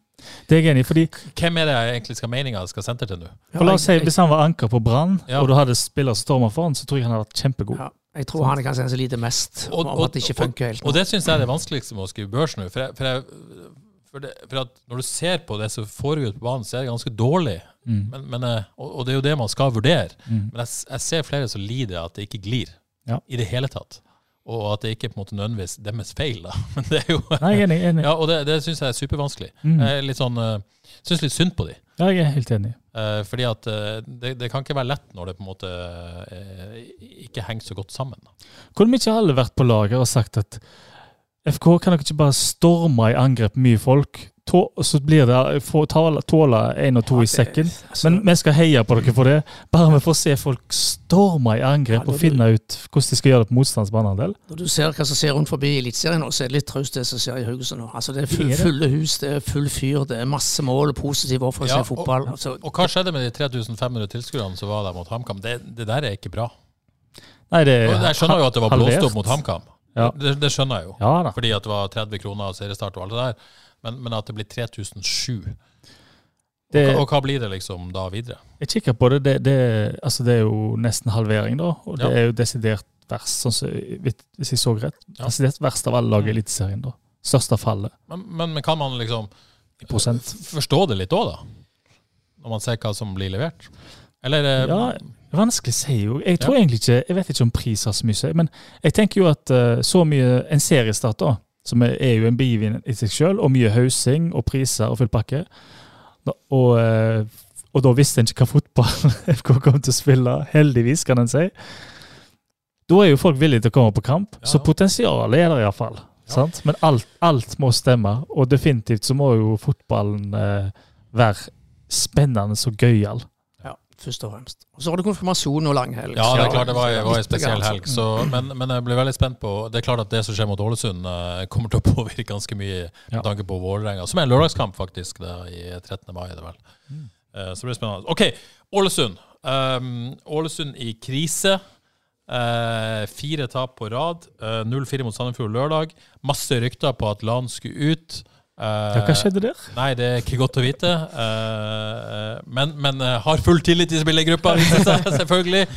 S3: Det er jeg enig i, fordi
S1: Hvem er det jeg egentlig skal meninga skal sentre til nå?
S2: Ja,
S3: For la oss si,
S2: jeg-
S3: Hvis han var anker på Brann,
S1: Ja.
S3: og du hadde spiller som stormer foran, så tror jeg han hadde vært kjempegod.
S2: Ja, jeg tror han er kanskje den som lider mest
S1: Og-
S2: om
S1: og-
S2: at det ikke funker helt.
S1: Og det syns jeg er det vanskeligste med å skrive børs nå. For, jeg, for, jeg, for, det, for at når du ser på det som foregår ute på banen, så er det ganske dårlig.
S3: Mm.
S1: Men, men, eh, og, og det er jo det man skal vurdere.
S3: Mm.
S1: Men jeg, s- jeg ser flere som lider at det ikke glir
S3: Ja.
S1: i det hele tatt. Og at det ikke på en måte nødvendigvis deres feil, da. (laughs) Men det er jo
S3: Nei, jeg er enig. jeg er enig.
S1: (laughs) Ja, og det, det syns jeg er supervanskelig.
S3: Mm.
S1: Jeg er litt sånn uh, Syns litt synd på de.
S3: Ja, jeg er helt enig.
S1: Eh, fordi at eh, det, det kan ikke være lett når det på en måte eh, ikke henger så godt sammen. da.
S3: Kunne vi ikke alle vært på lager og sagt at FK kan dere ikke bare storme i angrep med mye folk, tå, og så blir det eh, få tåle- tåle én og to i sekken?
S1: altså-
S3: Men vi skal heie på dere for det. Bare vi får se folk storme i
S2: Ja,
S3: angrep
S2: det
S3: og
S2: er
S3: finne ut hvordan de skal gjøre det på motstands banehalvdel.
S2: Når du ser hva som skjer rundt forbi i Eliteserien nå, så er det litt traust det som skjer i Haugesund nå. Altså, det er full,
S3: Det er det.
S2: fulle hus, det er full fyr, det er masse mål, positiv offensiv
S1: Ja, og-
S2: fotball. Altså,
S1: Og hva skjedde med de 3500 tilskuerne som var der mot HamKam? Det, det der er ikke bra.
S3: Nei, det
S1: Og jeg skjønner jo at det var blåst
S3: halvert.
S1: opp mot HamKam.
S3: Ja.
S1: Det, det skjønner jeg jo.
S3: Ja da.
S1: Fordi at det var 30 kroner og seriestart og alt det der. Men, men at det blir 3007.
S3: Det,
S1: Og, og hva blir det liksom da videre?
S3: Jeg kikker på det. Det, det, altså det er jo nesten halvering, da. Og det
S1: Ja.
S3: er jo desidert verst, sånn som, hvis jeg så rett.
S1: Ja. Mm.
S3: Desidert verst av alle lag i Eliteserien, da. Største fallet
S1: Men, men, men kan man liksom
S3: i prosent.
S1: f- forstå det litt òg, da? Når man ser hva som blir levert? Eller eh,
S3: Ja, vanskelig å si. jo. Jeg tror egentlig ikke, jeg vet ikke om pris har så mye å si, men jeg tenker jo at eh, så mye En seriestart, da, som er, er jo en bivin i seg sjøl, og mye hausing og priser og full pakke, da, og, eh, og da visste en ikke hva fotball (laughs) FK kom til å spille, heldigvis, kan en si. Da er jo folk villige til å komme på kamp,
S1: Ja.
S3: så potensialet er der iallfall.
S1: Ja.
S3: sant? Men alt, alt må stemme, og definitivt så må jo fotballen eh, være spennende og gøyal.
S2: ja, først og fremst. Og så har du konfirmasjon og langhelg.
S1: Ja, det er
S2: Så-
S1: klart det var, det var en
S2: Litt
S1: spesiell
S2: grann,
S1: helg, så,
S3: Mm.
S1: men, men jeg ble veldig spent på Det er klart at det som skjer mot Ålesund, eh, kommer til å (laughs) påvirke ganske mye med
S3: Ja.
S1: tanke på Vålerenga, som er en lørdagskamp, faktisk, da, i 13. mai. er Det vel.
S3: Mm.
S1: Eh, Så det blir spennende. OK, Ålesund. Um, Ålesund i krise. Eh, fire tap på rad. Eh, 0-4 mot Sandefjord lørdag. Masse rykter på at Lan skulle ut.
S3: Ja,
S1: Eh,
S3: hva skjedde der?
S1: Nei, det er ikke godt å vite. eh, men men eh, har full tillit i spillergruppa, viser det seg (laughs) selvfølgelig.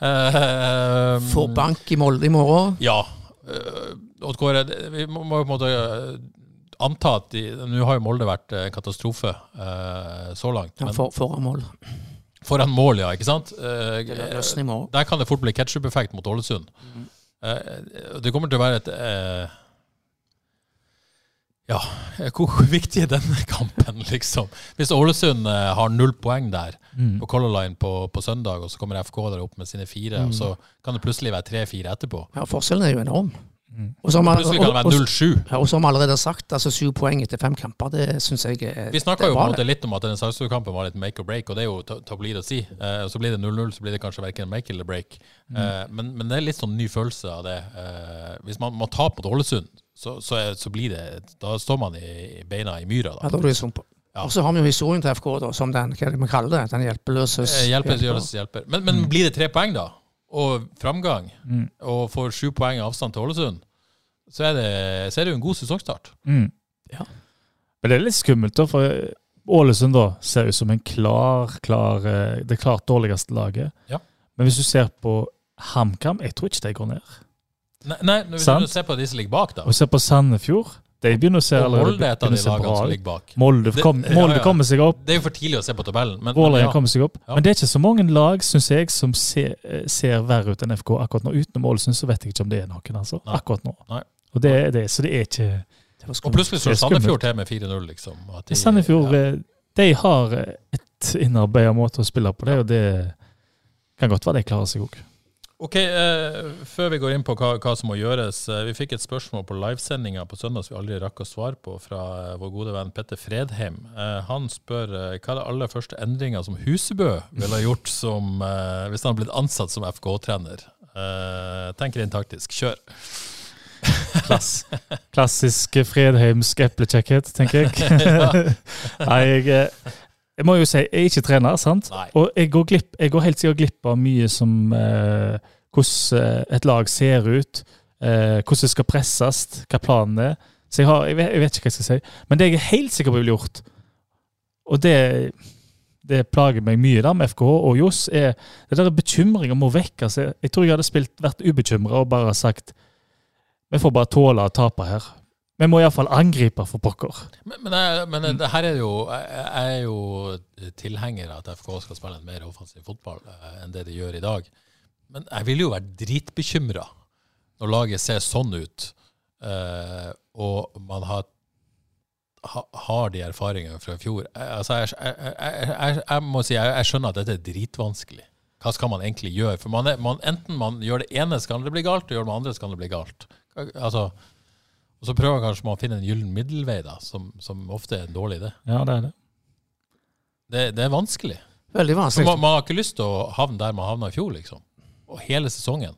S1: Eh, mm,
S2: Får bank i Molde i morgen.
S1: Ja. eh, Odd Kåre, det- vi må må på en måte eh, anta at de, Nå har jo Molde vært eh, en katastrofe eh, så langt.
S2: Ja,
S1: Men
S2: for, foran mål.
S1: foran mål, ja. Ikke sant? Eh,
S2: Det løsner i morgen.
S1: der kan det fort bli ketsjup-effekt mot Ålesund. Eh, det kommer til å være et eh, Ja, hvor (laughs) viktig er denne kampen, liksom? Hvis Ålesund eh, har null poeng der
S2: Mm.
S1: på Color Line på, på
S2: Mm.
S1: søndag, og så kommer FK der opp med sine fire, og så kan det plutselig være tre-fire etterpå.
S2: Ja, forskjellen er jo enorm. Og så har man-
S1: Mm. Plutselig kan det
S2: og-
S1: være 07.
S2: Ja, og som allerede sagt, altså syv poeng etter fem kamper, det syns jeg er
S1: Vi snakka
S2: det er
S1: jo på
S2: bra,
S1: en måte
S2: det.
S1: litt om at den Sarpsborg-kampen var litt make or break, og det er jo ta- tabloid å si. Eh, Så blir det 0-0, så blir det kanskje verken make eller break.
S3: Mm.
S1: Eh, Men, men det er litt sånn ny følelse av det. Eh, Hvis man, man taper mot Ålesund, så, så, er- så blir det Da står man i i beina i myra, da.
S2: Ja, da er du i sumpa.
S1: Ja.
S2: Og så har vi jo historien til FK, da, som den hva er det man kaller det, den hjelpeløses
S1: Eh, Hjelper, gjøres hjelper. Men,
S3: Mm.
S1: men blir det tre poeng, da, og framgang, og får sju poeng avstand til Ålesund, så er det, så er det jo en god sesongstart.
S3: Mm.
S1: Ja.
S3: Men det er litt skummelt, da, for Ålesund da ser ut som en klar, klar, eh, det klart dårligste laget.
S1: Ja.
S3: Men hvis du ser på HamKam, jeg tror ikke de går ned.
S1: Nei, nei hvis
S3: Sant.
S1: du ser på de som ligger bak, da.
S3: Og ser på Sandefjord, de begynner å se
S1: Og Molde er et av
S3: begynner
S1: de
S3: å se
S1: lagene
S3: bra
S1: som
S3: ut.
S1: ligger bak.
S3: Molde,
S1: Det-
S3: kom,
S1: ja,
S3: Molde
S1: ja.
S3: kommer seg opp.
S1: Det er jo for tidlig å se på tabellen. Men, men,
S3: Vålerenga
S1: ja.
S3: kommer seg opp.
S1: Ja.
S3: Men det er ikke så mange lag synes jeg, som ser, eh, ser verre ut enn FK akkurat nå. Utenom Ålesund så vet jeg ikke om det er noen, altså.
S1: Nei.
S3: Akkurat nå.
S1: Nei.
S3: Og det er det, så det er ikke
S1: Og plutselig
S3: Det
S1: står
S3: er skummelt.
S1: Sandefjord til med 4-0, liksom. At de-
S3: Sandefjord
S1: ja.
S3: eh, de har eh, et innarbeida måte å spille på det, og det eh, kan godt være de klarer seg òg.
S1: Ok, eh, Før vi går inn på hva, hva som må gjøres. eh, vi fikk et spørsmål på livesendinga på søndag som vi aldri rakk å svare på, fra eh, vår gode venn Petter Fredheim. Eh, han spør eh, hva er det aller første endringa som Husebø ville ha gjort som, eh, hvis han hadde blitt ansatt som FK-trener. Eh, tenk rent taktisk. Kjør.
S3: Klass. Klassisk Fredheimsk eplekjekkhet, tenker jeg. (laughs) Nei, jeg, eh, jeg må jo si jeg er ikke trener, sant?
S1: Nei.
S3: Og jeg går, glipp, jeg går helt sikkert glipp av mye som eh, hvordan eh, et lag ser ut, eh, hvordan det skal presses, hva planen er. Så jeg, har, jeg, vet, jeg vet ikke hva jeg skal si. Men det jeg er helt sikker på jeg ville gjort, og det, det plager meg mye da med FKH og Johs, er det der bekymringa må vekk. Altså, jeg tror jeg hadde spilt, vært ubekymra og bare sagt vi får bare tåle å tape her. Vi må iallfall angripe for pokker.
S1: Men, men, jeg, men det her er det jo jeg, jeg er jo tilhenger av at FK skal spille en mer offensiv fotball eh, enn det de gjør i dag. Men jeg ville jo vært dritbekymra når laget ser sånn ut, eh, og man har, ha, har de erfaringene fra i fjor. Eh, Altså, jeg, jeg, jeg, jeg, jeg må si jeg, jeg skjønner at dette er dritvanskelig. Hva skal man egentlig gjøre? For man er, man, enten man gjør det ene, så kan det bli galt, og gjør det andre, så kan det bli galt. Altså... Og så prøver kanskje man å finne en gyllen middelvei, da, som, som ofte er en dårlig idé.
S3: Ja, det er det.
S1: Det, det er vanskelig.
S2: Veldig
S1: For
S2: vanskelig.
S1: man, man har ikke lyst til å havne der man havna i fjor, liksom. Og hele sesongen.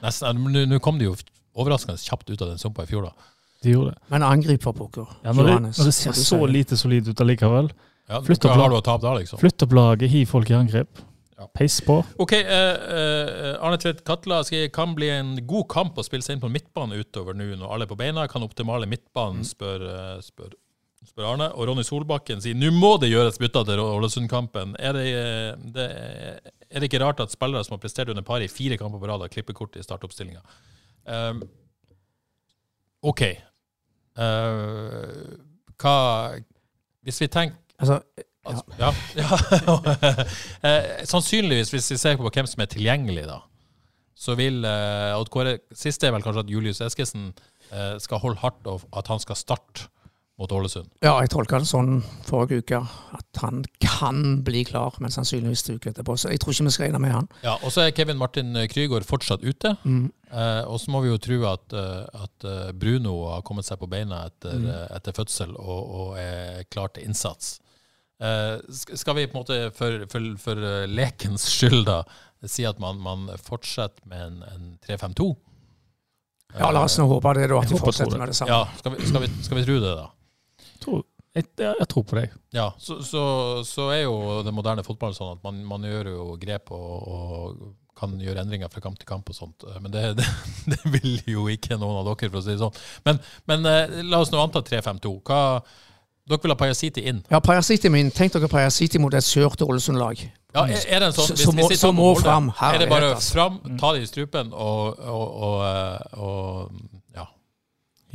S1: Nesten, nå- Nå kom de jo overraskende kjapt ut av den sumpa i fjor, da.
S3: De gjorde det.
S2: Men angrip for pokker.
S3: Ja, når, det,
S2: Johannes,
S3: når det
S2: hva
S3: ser
S2: du
S3: så
S2: sier.
S3: lite solid ut allikevel.
S1: Ja,
S3: Flytt opp
S1: hva har du
S3: lag.
S1: å tape da, liksom?
S3: Flytt opp laget, hiv folk i angrep.
S1: Ja.
S3: Peis på.
S1: Ok, eh, eh, Arne Tvedt Katla sier kan bli en god kamp å spille seg inn på midtbanen utover nå når alle er på beina. Kan optimale midtbanen, spør, eh, spør, spør Arne. Og Ronny Solbakken sier nå må det gjøres bytter til Ålesund-kampen. Er, det, eh, det, eh, er det ikke rart at spillere som har prestert under paret i fire kamper på rad, har klippet kort i startoppstillinga? Um, OK. Eh, hva Hvis vi tenker
S2: Altså,
S1: Altså, ja. (laughs) ja. eh, sannsynligvis, hvis vi ser på hvem som er tilgjengelig, da, så vil eh, Odd Kåre Siste er vel kanskje at Julius Eskesen eh, skal holde hardt, og at han skal starte mot Ålesund.
S2: ja, jeg tolka det sånn forrige uke, at han kan bli klar, men sannsynligvis til uke etterpå. Så jeg tror ikke vi skal regne med han.
S1: Ja, Og så er Kevin Martin Krygård fortsatt ute.
S2: Mm.
S1: Eh, og så må vi jo tro at, eh, at eh, Bruno har kommet seg på beina etter,
S2: Mm.
S1: eh, etter fødsel og, og er klar til innsats. Eh, sk- skal vi på en måte for, for, for eh, lekens skyld da si at man, man fortsetter med en, en 3-5-2?
S2: Ja, La oss nå håpe det, da, at
S3: Jeg
S2: de
S3: håper og tror
S2: fortsetter
S3: det.
S2: med det samme.
S1: Eh, Ja, skal vi, skal, vi, skal vi tro det, da?
S3: Tror, jeg, jeg, jeg tror på deg.
S1: Ja, så, så, så er jo den moderne fotballen sånn at man, man gjør jo grep og, og kan gjøre endringer fra kamp til kamp og sånt. Eh, Men det, (laughs) det, det vil jo ikke noen av dere, for å si det sånn. Men, men eh, la oss nå anta 3-5-2. Hva Dere vil ha Pajasiti inn.
S2: Ja, Pajasiti min. Tenk dere Pajasiti mot et sørt Ålesund-lag.
S1: Ja, er, er det en sånn,
S2: Så- så må-
S1: de
S2: så
S1: tar på
S2: må
S1: Molde,
S2: fram.
S1: Er det bare
S2: Herlighet, altså.
S1: fram, ta det i strupen og, og, og, eh, og Ja.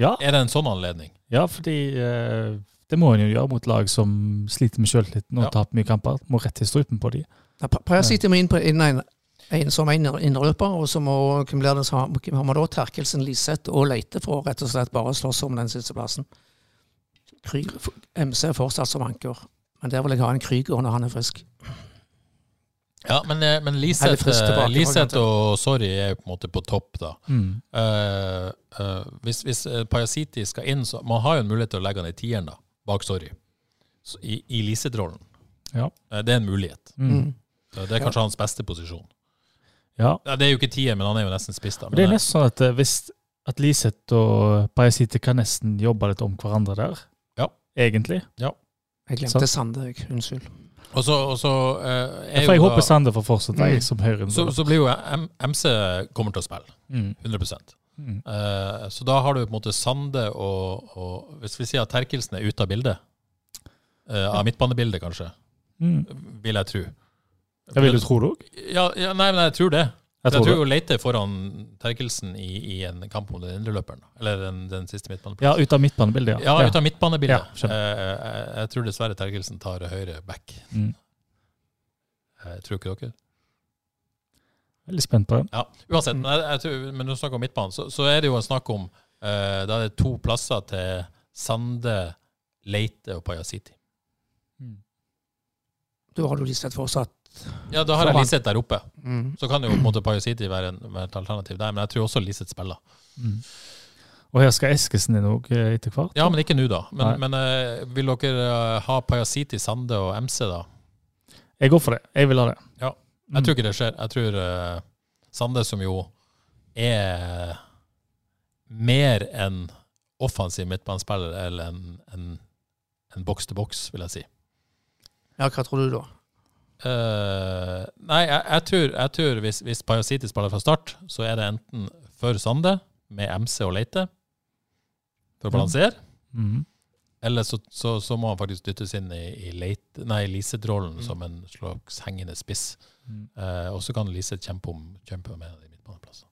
S3: Ja,
S1: Er det en sånn anledning?
S3: ja fordi eh, det må en jo gjøre mot lag som sliter med sjøltilliten og
S1: Ja.
S3: taper mye kamper. Må rett i strupen på de.
S2: Ja, Pa- Pajasiti må inn på inn en, en som en innløper, og så må hvem blir det som har- hvem har man da? Terkelsen, Liseth og Leite for å rett og slett bare slåss om den siste plassen. Kryger, f- MC er fortsatt som anker, men der vil jeg ha en Krüger når han er frisk.
S1: Ja, men, eh, men
S2: Eller
S1: Liseth
S2: frisk tilbake,
S1: eh, Liseth
S2: for
S1: og Sorry er jo på en måte på topp, da.
S3: Mm.
S1: Eh, eh, hvis hvis eh, Parasiti skal inn, så man har jo en mulighet til å legge han i tieren, da, bak Sorry. Så, I i Liseth-rollen.
S3: Ja.
S1: Eh, det er en mulighet.
S3: Mm.
S1: Eh, Det er kanskje hans beste posisjon.
S3: ja.
S1: Ja, det er jo ikke tier, men han er jo nesten spiss, da.
S3: Og det er
S1: Men, eh,
S3: nesten sånn at eh, hvis at Liseth og Pajasiti kan nesten jobbe litt om hverandre der,
S1: Ja.
S3: egentlig.
S2: Jeg
S3: Sant.
S2: glemte Sande, jeg. Unnskyld.
S1: og så, og så eh, er
S3: For jeg
S1: jo da,
S3: håper Sander får fortsette jeg, som høyre.
S1: så, så blir jo M MC kommer til å spille.
S3: Mm.
S1: 100
S3: Mm.
S1: Eh, Så da har du på en måte Sande og, og Hvis vi sier at Terkelsen er ute av bildet, eh, av midtbanebildet kanskje,
S3: Mm.
S1: vil jeg tro.
S3: Jeg vil jo tro det òg.
S1: Ja, ja, nei, men jeg tror det.
S3: Jeg
S1: Jeg tror,
S3: tror det.
S1: jo Leite foran Terkelsen i, i en kamp om den indre løperen, eller den, den siste midtbaneplassen.
S3: Ja, ut av midtbanebildet,
S1: Ja, ut av midtbanebildet.
S3: Ja, skjønner.
S1: Eh, jeg, jeg tror dessverre Terkelsen tar høyre back.
S3: Mm.
S1: Jeg tror ikke dere.
S3: Veldig spent på den.
S1: Ja, uansett, men, jeg, jeg tror, men når du snakker om midtbanen, så, så er det jo en snakk om eh, Da er det to plasser til Sande, Leite og Pajasiti. Mm.
S2: Da har du Liseth fortsatt.
S1: Ja, da har jeg
S2: Foran.
S1: Liseth der oppe.
S2: Mm.
S1: Så kan jo på en måte Pajasiti være, en- være et alternativ der, men jeg tror også Liseth spiller.
S3: Mm. Og her skal Eskesen inn òg etter hvert.
S1: Ja, men ikke nå, da. Men,
S3: Nei.
S1: men eh, vil dere eh, ha Pajasiti, Sande og MC, da?
S3: Jeg går for det. Jeg vil ha det.
S1: Jeg tror ikke det skjer. Jeg tror eh, Sande, som jo er mer enn offensiv midtbanespiller eller en, en, en boks-til-boks, vil jeg si.
S2: Ja, hva tror du da?
S1: Eh, nei, jeg, jeg tror, jeg tror hvis, hvis Pajasiti spiller fra start, så er det enten for Sande, med MC og Leite, for å balansere,
S3: Mm.
S1: eller så, så, så må han faktisk dyttes inn i, i Leite- nei, Liseth-rollen som en slags hengende spiss.
S3: Mm.
S1: Eh, og så kan Liseth kjempe om kjempe om en av de midtbaneplassene.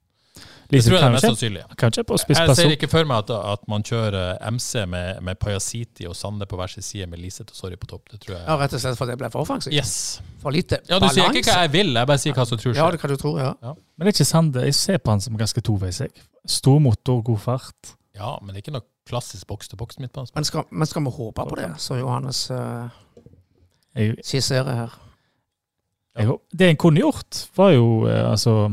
S1: Det
S3: Lise
S1: tror jeg er
S3: kan
S1: det mest
S3: jo
S1: sannsynlige.
S3: ikke på
S1: Jeg
S3: spissplass
S1: ser
S3: òg.
S1: ikke for meg at, at man kjører MC med, med Pajasiti og Sande på hver sin side, med Liseth og Sorry på topp. Det tror
S2: Ja,
S1: jeg.
S2: Rett og slett fordi det ble for offensivt?
S1: Yes.
S2: For lite
S1: Ja, du sier ikke hva jeg vil, jeg bare sier hva som tror
S2: Ja,
S1: skjer.
S2: det kan du tro, ja.
S3: Men det er ikke Sande. Jeg ser på han som ganske toveis. jeg. Stor motor, god fart.
S1: Ja, men det er ikke noe klassisk boks-til-boks midtbanespill.
S2: Men skal, men skal vi håpe på det, som Johannes eh,
S3: Jeg,
S2: skisserer her?
S3: jeg, håper- det en kunne gjort, var jo eh, altså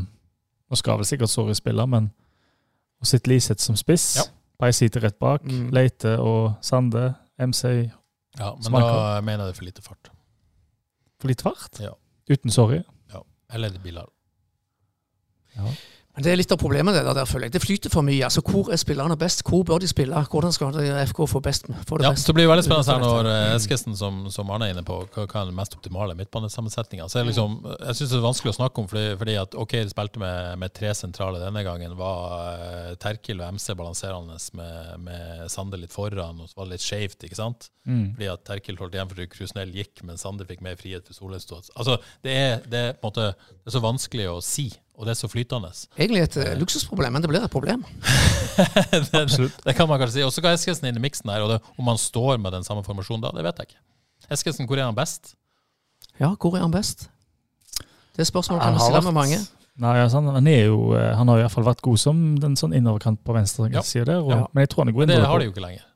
S3: Nå skal vel sikkert Sorry spille, men å sitte Liseth som spiss,
S1: Ja.
S3: Pajasiti rett bak,
S2: Mm.
S3: Leite og Sande, MC
S1: Ja, men
S3: Smaker.
S1: da mener jeg det er for lite fart.
S3: for litt fart.
S1: Ja.
S3: Uten Sorry.
S1: Eller biler.
S2: Men det er litt av problemet, det der, der, føler jeg. Det flyter for mye. altså Hvor er spillerne best? Hvor bør de spille? Hvordan skal de- FK få best få det
S1: Ja, så
S2: best?
S1: det blir veldig spennende her når eh, Eskesen, som, som Arne er inne på, hva, hva er den mest optimale midtbanesammensetninga? Så er det liksom, jeg syns det er vanskelig å snakke om, fordi, fordi at OK, de spilte med, med tre sentrale denne gangen. Var eh, Terkil og MC balanserende med, med Sande litt foran, og så var det litt skjevt, ikke sant?
S3: Mm.
S1: Fordi at Terkil holdt igjen fordi Krusnell gikk, men Sande fikk mer frihet for Solestås. Altså, det er, det, er på en måte, det er så vanskelig å si, og det er så flytende.
S2: Egentlig et eh, luksusproblem, men det blir et problem.
S1: (laughs) det, det kan man kanskje si. Og så kan Eskilsen inn i miksen her, og det, om han står med den samme formasjonen da, det vet jeg ikke. Eskilsen, hvor er han best?
S2: Ja, hvor er han best? Det er spørsmålet
S3: Han
S2: kan vi
S3: har
S2: stille
S3: vært-
S2: med mange.
S3: Nei, altså, han, han, er jo, eh, han har i hvert fall vært god som den sånn innoverkant på venstre
S1: Ja.
S3: side der. Og,
S1: Ja.
S3: Men jeg tror han er god
S1: Men det
S3: innover.
S1: har de jo ikke lenger.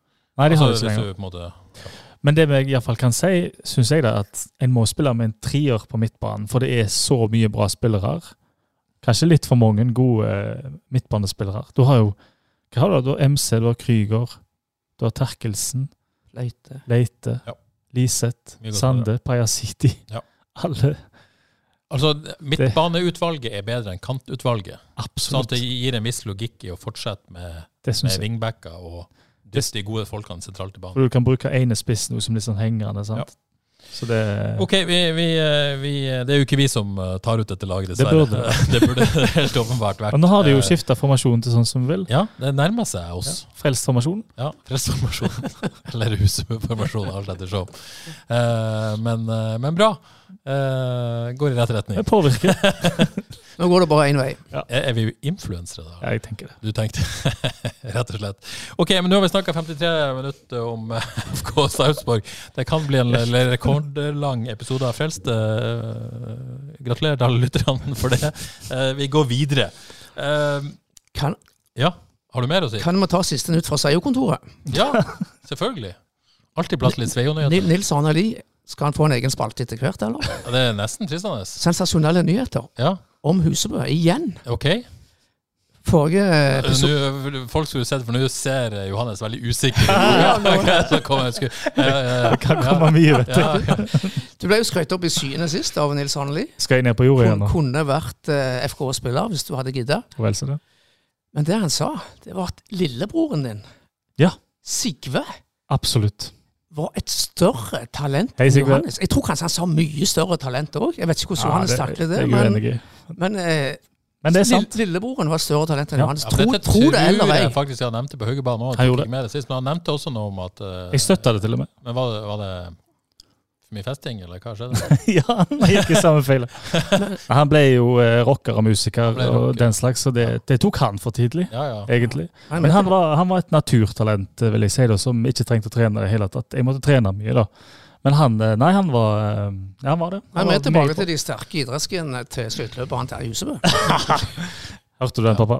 S3: Nei, de har det
S1: Altså, hvis
S3: ikke lenger.
S1: du på en måte-
S3: Men det jeg iallfall kan si, syns jeg da, at en må spille med en trier på midtbanen, for det er så mye bra spillere. Kanskje litt for mange gode eh, midtbanespillere. Du har jo hva har du, da? MC, du har Krüger, du har Terkelsen,
S2: Leite.
S3: Leite,
S1: Ja.
S3: Liseth,
S1: Mye godt
S3: Sande, Pajasiti.
S1: Ja.
S3: (laughs) Alle.
S1: Altså, Midtbaneutvalget er bedre enn kantutvalget. Sånn at
S3: Absolutt.
S1: det gir en viss logikk i å fortsette med,
S3: det syns
S1: med
S3: jeg.
S1: wingbacker og dysse de gode folkene sentralt i banen.
S3: For du kan bruke ene spissen som litt sånn hengende. sant? Så det
S1: OK, vi, vi, eh, vi, det er jo ikke vi som eh, tar ut dette laget,
S3: Det
S1: dessverre.
S3: burde
S1: (laughs) Det burde, helt åpenbart vært.
S3: Og nå har de jo
S1: Eh,
S3: skifta formasjon til sånn som vi vil.
S1: Ja, det nærmer seg oss.
S3: Frelst formasjon.
S1: Ja, restaurasjon. (laughs) Eller husformasjon, alt etter show. men, eh, men bra. Eh, går i rett retning.
S3: Det
S1: (laughs)
S3: påvirker.
S2: Nå går det bare én vei.
S1: Er, er vi influensere, da?
S3: Ja, jeg tenker det.
S1: Du tenkte (laughs) Rett og slett. Ok, men nå har vi snakka 53 minutter om eh, (laughs) FK Sarpsborg. Det kan bli en l- l- rekordlang episode av Frelst. Eh, gratulerer til alle lytterne for det. Eh, vi går videre. Eh,
S2: Kan,
S1: ja, har du mer å si?
S2: kan vi ta siste nytt fra Seio-kontoret?
S1: Ja, selvfølgelig. Alltid plass til litt Sveio-nyheter.
S2: Nils Arne Lie Skal han få en egen spalte etter hvert, eller?
S1: Ja, Det er nesten fristende.
S2: Sensasjonelle nyheter
S1: Ja,
S2: om Husebø. Igjen.
S1: OK.
S2: Forrige episode
S1: Nå, folk skulle sett, for nå ser Johannes veldig usikker ut. (laughs) Ja, så kommer jeg skulle... (laughs) Ja, ja, ja.
S3: Det kan komme mye, vet du.
S1: Ja, ja.
S2: Du ble jo skrøyt opp i syene sist av Nils Hanneli.
S3: Skal jeg ned på jorda igjen
S2: Hun
S3: nå?
S2: kunne vært eh, FK-spiller hvis du hadde gidda.
S3: Vel, så det.
S2: Men det han sa, det var at lillebroren din,
S3: Ja.
S2: Sigve,
S3: Absolutt.
S2: var et større talent
S3: Hei,
S2: enn
S3: Sigve.
S2: Johannes. Jeg tror kanskje han sa mye større talent òg. Jeg vet ikke hvordan
S3: Ja,
S2: Johannes
S3: det-
S2: takler
S3: det
S2: det,
S3: er jeg
S2: men,
S3: uenig i.
S2: men eh,
S3: Men det er sant.
S2: lill- lillebroren var et større talent enn
S3: Ja.
S2: Johannes.
S1: Ja,
S2: Tro,
S1: for dette
S2: tro det eller ei.
S1: jeg faktisk jeg nevnte på Haugebanen òg.
S3: Han gjorde
S1: Men han nevnte også noe om at eh,
S3: Jeg støtta det til og med. (laughs)
S1: Men var det, var det for mye festing, eller hva skjedde?
S3: ja, han gikk i samme
S2: (laughs)
S3: feil. Han ble jo eh, rocker og musiker
S1: Han ble
S3: og
S1: rocker.
S3: den slags, så det, det tok han for tidlig,
S1: Ja, ja.
S3: egentlig.
S2: Han
S3: Men
S2: vet
S3: han
S2: det.
S3: var, han var et naturtalent, eh, vil jeg si, da, som ikke trengte å trene i det hele tatt. Jeg måtte trene mye, da. Men han eh, Nei, han var, eh, ja, han var det.
S2: Nei,
S3: Han
S2: Vi
S3: var
S2: er tilbake
S3: meget bra.
S2: til de sterke idrettsgenene til skøyteløperen Terje Husebø.
S3: Eh, Hørte du den, pappa?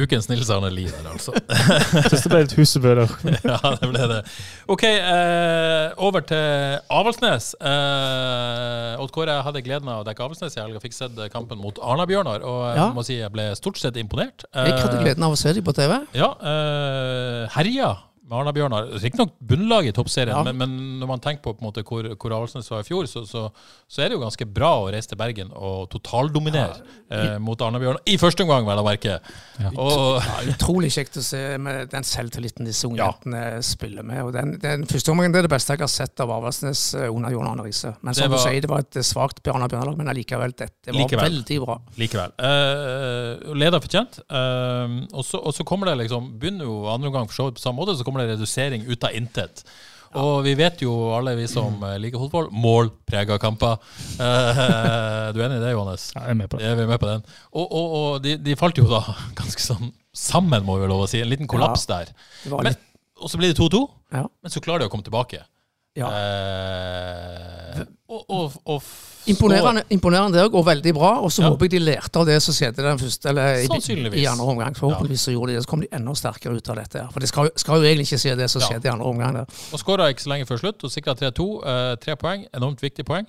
S1: Ukens Nils Arne Lien, er det altså.
S3: Syns det ble litt husebø
S2: (laughs)
S3: der.
S1: (laughs) ja, det ble det. OK, eh, over til Avaldsnes. Eh, Odd Kåre jeg hadde gleden av å dekke Avaldsnes i helga. Fikk sett kampen mot Arna-Bjørnar, og jeg
S2: Ja.
S1: må si jeg ble stort sett imponert. Eh,
S2: Jeg hadde gleden av å se dem på TV.
S1: Ja, eh, herja med Arna-Bjørnar. Riktignok bunnlaget i toppserien,
S2: Ja.
S1: men, men når man tenker på, på en måte, hvor, hvor Avaldsnes var i fjor, så, så, så er det jo ganske bra å reise til Bergen og totaldominere eh, mot Arna-Bjørnar. I første omgang, vel å merke. Og,
S2: Utrolig kjekt å se med den selvtilliten disse unge
S1: Ja.
S2: jentene spiller med. Og den, den første omgangen det er det beste jeg har sett av Avaldsnes eh, under John Arne Riise. Men
S1: Det
S2: som du
S1: var-
S2: sier, det var et eh, svakt Bjørnar Bjørnar, men allikevel, dette var
S1: Likevel.
S2: veldig bra.
S1: Likevel. Eh, leder fortjent. Eh, og, så, og så kommer det liksom Begynner jo andre omgang for så vidt på samme måte, så kommer det redusering ut av intet. Og vi vet jo alle vi
S3: Mm.
S1: som eh, liker fotball, mål preger kamper. Eh, (laughs) du er enig i det, Johannes?
S3: Ja, jeg er med på det.
S1: Ja, vi er med på den. Og, og, og de, de falt jo da (laughs) ganske sånn sammen, må vi lov å si. En liten kollaps der.
S2: Det var
S1: Men,
S2: litt,
S1: og så blir det 2-2,
S2: ja,
S1: men så klarer de å komme tilbake.
S2: ja.
S1: Eh, og, og, og f-
S2: Imponerende, imponerende det òg, og veldig bra. Og så
S1: Ja.
S2: håper jeg de lærte av det som skjedde den første, eller i,
S1: Sannsynligvis.
S2: i andre omgang. Forhåpentligvis så gjorde de det, så kom de enda sterkere ut av dette. her. For de skal, jo- skal jo egentlig ikke se det som
S1: Ja.
S2: skjedde i andre omgang. der.
S1: Og skåra ikke så lenge før slutt og sikra 3-2. Eh, Tre poeng, enormt viktig poeng.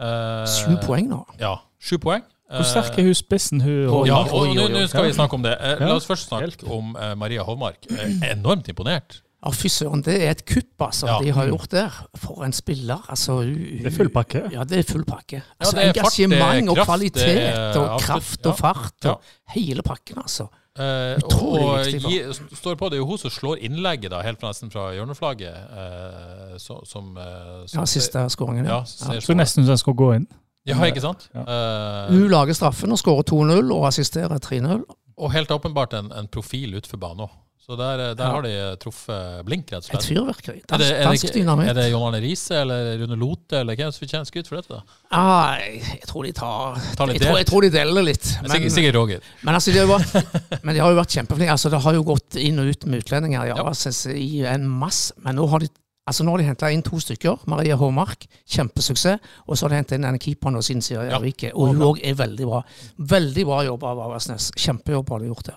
S1: Eh,
S2: Sju poeng nå.
S1: Ja, sju poeng. Eh,
S3: Hvor sterk er hun spissen? Hun,
S1: Ja,
S2: Oi,
S1: og
S2: oi,
S1: nå
S2: oi.
S1: nå skal vi snakke om det. Eh,
S3: Ja.
S1: La oss først snakke om eh, Maria Hovmark. Eh, Enormt imponert.
S2: Ja, fy søren, det er et kupp altså,
S1: Ja.
S2: de har gjort der. For en spiller. Altså,
S3: Det er full
S2: (laughs)
S3: pakke.
S2: Ja, det er full pakke. Altså,
S1: det er fart, det er
S2: engasjement og
S1: kraft,
S2: kvalitet
S1: det er
S2: og
S1: absolutt-
S2: kraft
S1: ja.
S2: og fart og
S1: Ja.
S2: hele pakken, altså.
S1: Eh, og
S2: Utrolig
S1: og
S2: viktig, da.
S1: gi, st- står på, Det er jo hun som slår innlegget da, helt fra- nesten fra hjørneflagget. Eh, så, som, eh, som
S2: Ja, siste skåringen. Ja.
S1: Ja, ser
S3: Så nesten som den skulle gå inn.
S1: ja, ikke sant? Eh,
S2: Hun lager straffen og skårer 2-0 og assisterer 3-0.
S1: og helt åpenbart en, en profil utenfor banen òg. Så der, eh, der
S2: Ja.
S1: har de eh, truffet blink, rett og
S2: Et
S1: slett.
S2: fyrverkeri.
S1: Er det,
S2: Dansk,
S1: er,
S2: dansk
S1: det, er
S2: dynamitt.
S1: det John Arne Riise eller Rune Lote eller hvem som fortjener skudd for dette? da?
S2: Ah, jeg jeg tror de tar
S1: Ta litt
S2: jeg tror,
S1: del.
S2: jeg tror de deler litt. Men,
S1: Sikkert, sikkert Roger.
S2: men, altså, de har jo vært, men de har jo vært kjempeflinke. Altså, det har jo gått inn og ut med utlendinger ja,
S1: Ja.
S2: synes jeg, i en masse. Men nå har de, altså, nå har de henta inn to stykker. Maria Håmark, kjempesuksess. Og så har de henta inn denne keeperen og sin Siri
S1: Ja.
S2: Ervike. Og hun òg er veldig bra. Veldig bra jobb av Aversnes. Kjempejobb har de gjort der.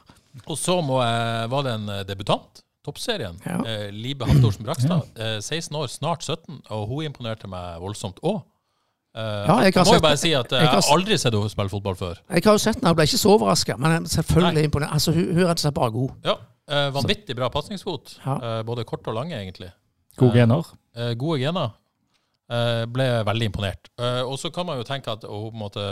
S1: Og så må jeg, var det en eh, debutant. Toppserien.
S2: Ja.
S1: Eh, Libe Haftorsen Brakstad. Eh, 16 år, snart 17, og hun imponerte meg voldsomt òg. Eh,
S2: Ja, jeg
S1: jeg
S2: har
S1: må
S2: sett-
S1: jo bare si at eh,
S2: jeg
S1: jeg
S2: har
S1: har aldri sett henne spille fotball før.
S2: Jeg har jo sett henne, jeg ble ikke så overraska. Men selvfølgelig imponert. Altså, hun, hun er rett og slett bare god.
S1: Ja, eh, Vanvittig bra pasningsfot.
S2: Ja.
S1: Eh, både kort og lange, egentlig.
S3: God gener.
S1: eh, gode gener. Eh, ble veldig imponert. Eh, og så kan man jo tenke at og, på en måte,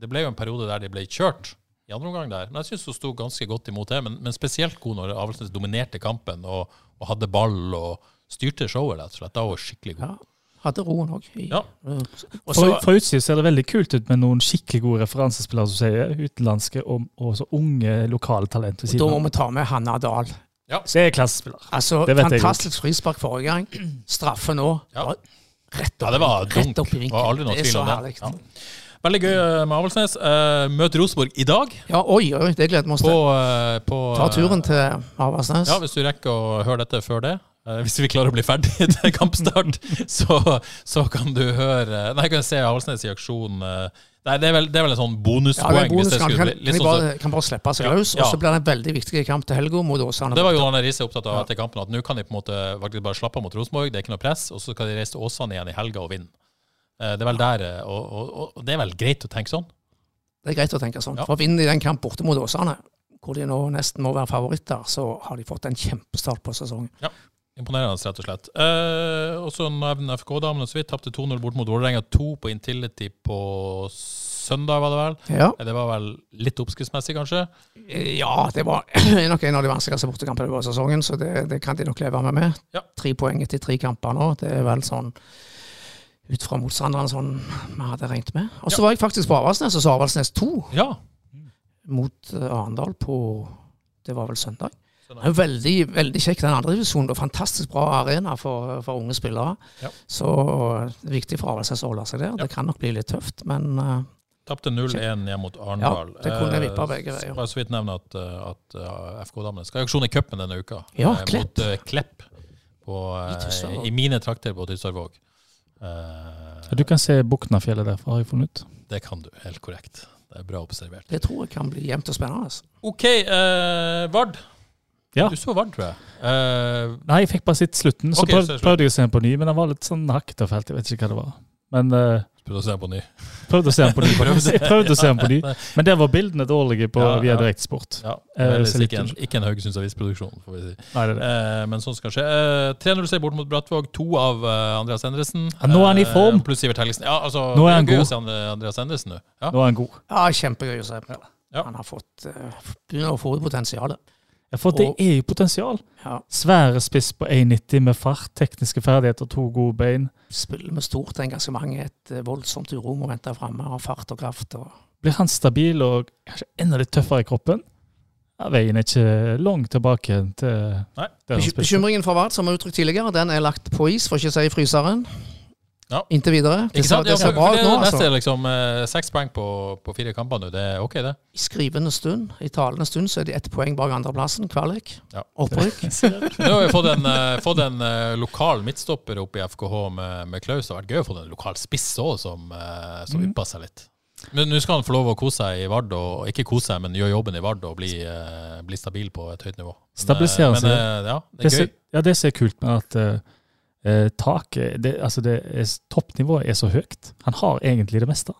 S1: det ble jo en periode der de ble kjørt i andre omgang der. Men jeg syns hun sto ganske godt imot det. Men, men spesielt god når Avaldsnes dominerte kampen og, og hadde ball og styrte showet, rett og slett. Da var hun skikkelig god.
S2: Ja. Hadde roen òg.
S1: Ja.
S2: Og så
S3: Fra, fra utsiden ser det veldig kult ut med noen skikkelig gode referansespillere som sier utenlandske og, og så unge lokale talent ved
S2: da må
S3: siden av.
S2: vi ta med Hanna Dahl.
S3: Det er klassespiller.
S2: Altså,
S3: Det vet jeg
S2: Fantastisk frispark forrige gang. (clears throat) Straffe nå.
S1: Ja.
S2: Bare Rett opp,
S1: Ja, det var
S2: i- rett
S1: dunk.
S2: opp i
S1: Det var aldri
S2: vinkelen.
S1: noe
S2: Det er
S1: tvil
S2: så
S1: om
S2: herlig.
S1: det. Ja. Veldig gøy eh, med Avaldsnes. Eh, møter Rosenborg i dag
S2: Ja, oi, oi, det gleder vi oss
S1: på,
S2: til.
S1: eh, på
S2: Ta turen
S1: eh,
S2: til Avaldsnes.
S1: Ja, hvis du rekker å høre dette før det. eh, Hvis vi klarer å bli ferdig (laughs) til kampstart, så, så kan du høre eh, Nei, kan du se Avaldsnes i aksjon eh, Nei, det er vel, det er vel en sånn
S2: Ja, det
S1: bonuspoeng.
S2: er bonus,
S1: hvis det,
S2: kan,
S1: skulle
S2: kan,
S1: bli,
S2: kan,
S1: litt
S2: de
S1: sånn som-
S2: bare, kan bare slippe seg
S1: Ja,
S2: løs, og
S1: ja.
S2: så blir det en veldig viktig kamp til helga mot Åsane.
S1: det var jo Arne Riise opptatt av etter kampen, at nå kan de på en måte faktisk bare slappe av mot Rosenborg, det er ikke noe press, og så skal de reise til Åsane igjen i helga og vinne. Eh, Det er vel der, eh, og, og, og- og det er vel greit å tenke sånn.
S2: Det er greit å tenke sånn.
S1: Ja.
S2: For vinner de den kamp borte mot Åsane, hvor de nå nesten må være favoritter, så har de fått en kjempestart på sesongen.
S1: Imponerende, rett og slett. Eh, og så nevner FK-damene så vidt. Tapte 2-0 bort mot Vålerenga 2 på Intility på søndag, var det vel?
S2: Ja,
S1: Eh, Det var vel litt oppskriftsmessig, kanskje.
S2: Eh, ja det var (clears throat) nok en av de vanskeligste bortekampene på sesongen, så det, det kan de nok leve med. med.
S1: Ja.
S2: Tre poeng etter tre kamper nå, det er vel sånn ut fra motstanderen sånn vi hadde regnet med. Og så var jeg faktisk på Avaldsnes og så Avaldsnes 2
S1: Ja.
S2: mot eh, Arendal på det var vel søndag.
S1: Søndag.
S2: Det er jo veldig, veldig kjekk den andre divisjonen. og Fantastisk bra arena for, for unge spillere.
S1: Ja.
S2: Så det er viktig for Avaldsnes å holde seg der.
S1: Ja.
S2: Det kan nok bli litt tøft, men eh,
S1: Tapte 0-1 hjemme mot Arendal.
S2: Ja, det kunne
S1: Eh,
S2: vippa begge veier.
S1: så Bare så vidt nevne at, eh, at eh, FK-damene skal i aksjon i cupen denne uka.
S2: Ja,
S1: Eh,
S2: Klepp.
S1: Mot eh, Klepp på, eh,
S2: I Tysværvåg.
S1: i mine trakter på Tysværvåg. Eh,
S3: Du kan se Buknafjellet derfra, har jeg funnet ut.
S1: Det kan du, helt korrekt. Det er bra observert.
S2: det tror jeg kan bli jevnt og spennende.
S1: OK, eh, Vard.
S3: Ja.
S1: Du så Vard, tror jeg. Eh,
S3: Nei, jeg fikk bare sett slutten, så
S1: Ok, så
S3: prøv,
S1: er det slutt.
S3: prøvde jeg å se den på ny, men den var litt sånn hakket og felt. Jeg vet ikke hva det var. Men eh,
S1: Prøv å se på ny.
S3: prøvde å se den
S1: (laughs)
S3: på ny. faktisk. (laughs) Jeg prøvde å se den på ny, men der var bildene dårlige på
S1: Ja,
S3: via
S1: ja.
S3: Direktesport.
S1: (laughs) Ja,
S3: Eh,
S1: heldigvis
S3: så litt
S1: ikke, en,
S3: unnskyld.
S1: ikke en Haugesunds avisproduksjon, får vi si.
S3: Nei, det er det.
S1: Eh, men sånn skal skje. Eh, 3-0-seier bort mot Brattvåg. To av eh, Andreas Endresen.
S3: Ja, nå er han i form.
S1: Eh, pluss Sivert Helgesen. Ja, altså,
S3: Nå er han
S1: det gøy
S3: god.
S1: å se Andre- Andreas Endresen nå. Ja.
S3: Nå er han god.
S2: Ja, kjempegøy å se på.
S1: Ja.
S2: Han har fått, eh, begynner å få ut potensialet.
S3: Ja, For det er jo potensial.
S2: Ja,
S3: Svære spiss på 1,90 med fart, tekniske ferdigheter, to gode bein.
S2: spiller med stort engasjement, et eh, voldsomt uromoment der framme, har fart og kraft. Og
S3: Blir han stabil og kanskje enda litt tøffere i kroppen? Ja, veien er ikke lang tilbake til
S1: Nei.
S3: der han
S2: Bekym-
S3: spilte.
S2: Bekymringen for Vard, som er uttrykt tidligere, den er lagt på is, for ikke å si i fryseren.
S1: Ja.
S2: Inntil videre. Det
S1: Ikke sant?
S2: ser, det
S1: Ja,
S2: ser
S1: for-
S2: bra
S1: for
S2: ut
S1: det
S2: nå,
S1: neste
S2: altså.
S1: er liksom eh, seks poeng på, på fire kamper nå. Det er OK, det.
S2: I skrivende stund, i talende stund, så er de ett poeng bak andreplassen, kvalik.
S1: Ja.
S2: Opprykk.
S1: (laughs) Nå har vi fått en, eh, fått en eh, lokal midtstopper oppe i FKH med, med Klaus. Det har vært gøy å få en lokal spiss òg, som, eh, som ypper seg litt. Men nå skal han få lov å kose seg i Vard, og ikke kose seg, men gjøre jobben i Vard og bli, eh, bli stabil på et høyt nivå. Men, eh,
S3: Stabilisere
S1: men,
S3: seg.
S1: eh, Ja,
S3: Det
S1: det er
S3: som
S1: gøy.
S3: ja, det som er kult med at eh, eh, taket det, altså det er, Toppnivået er så høyt. Han har egentlig det meste.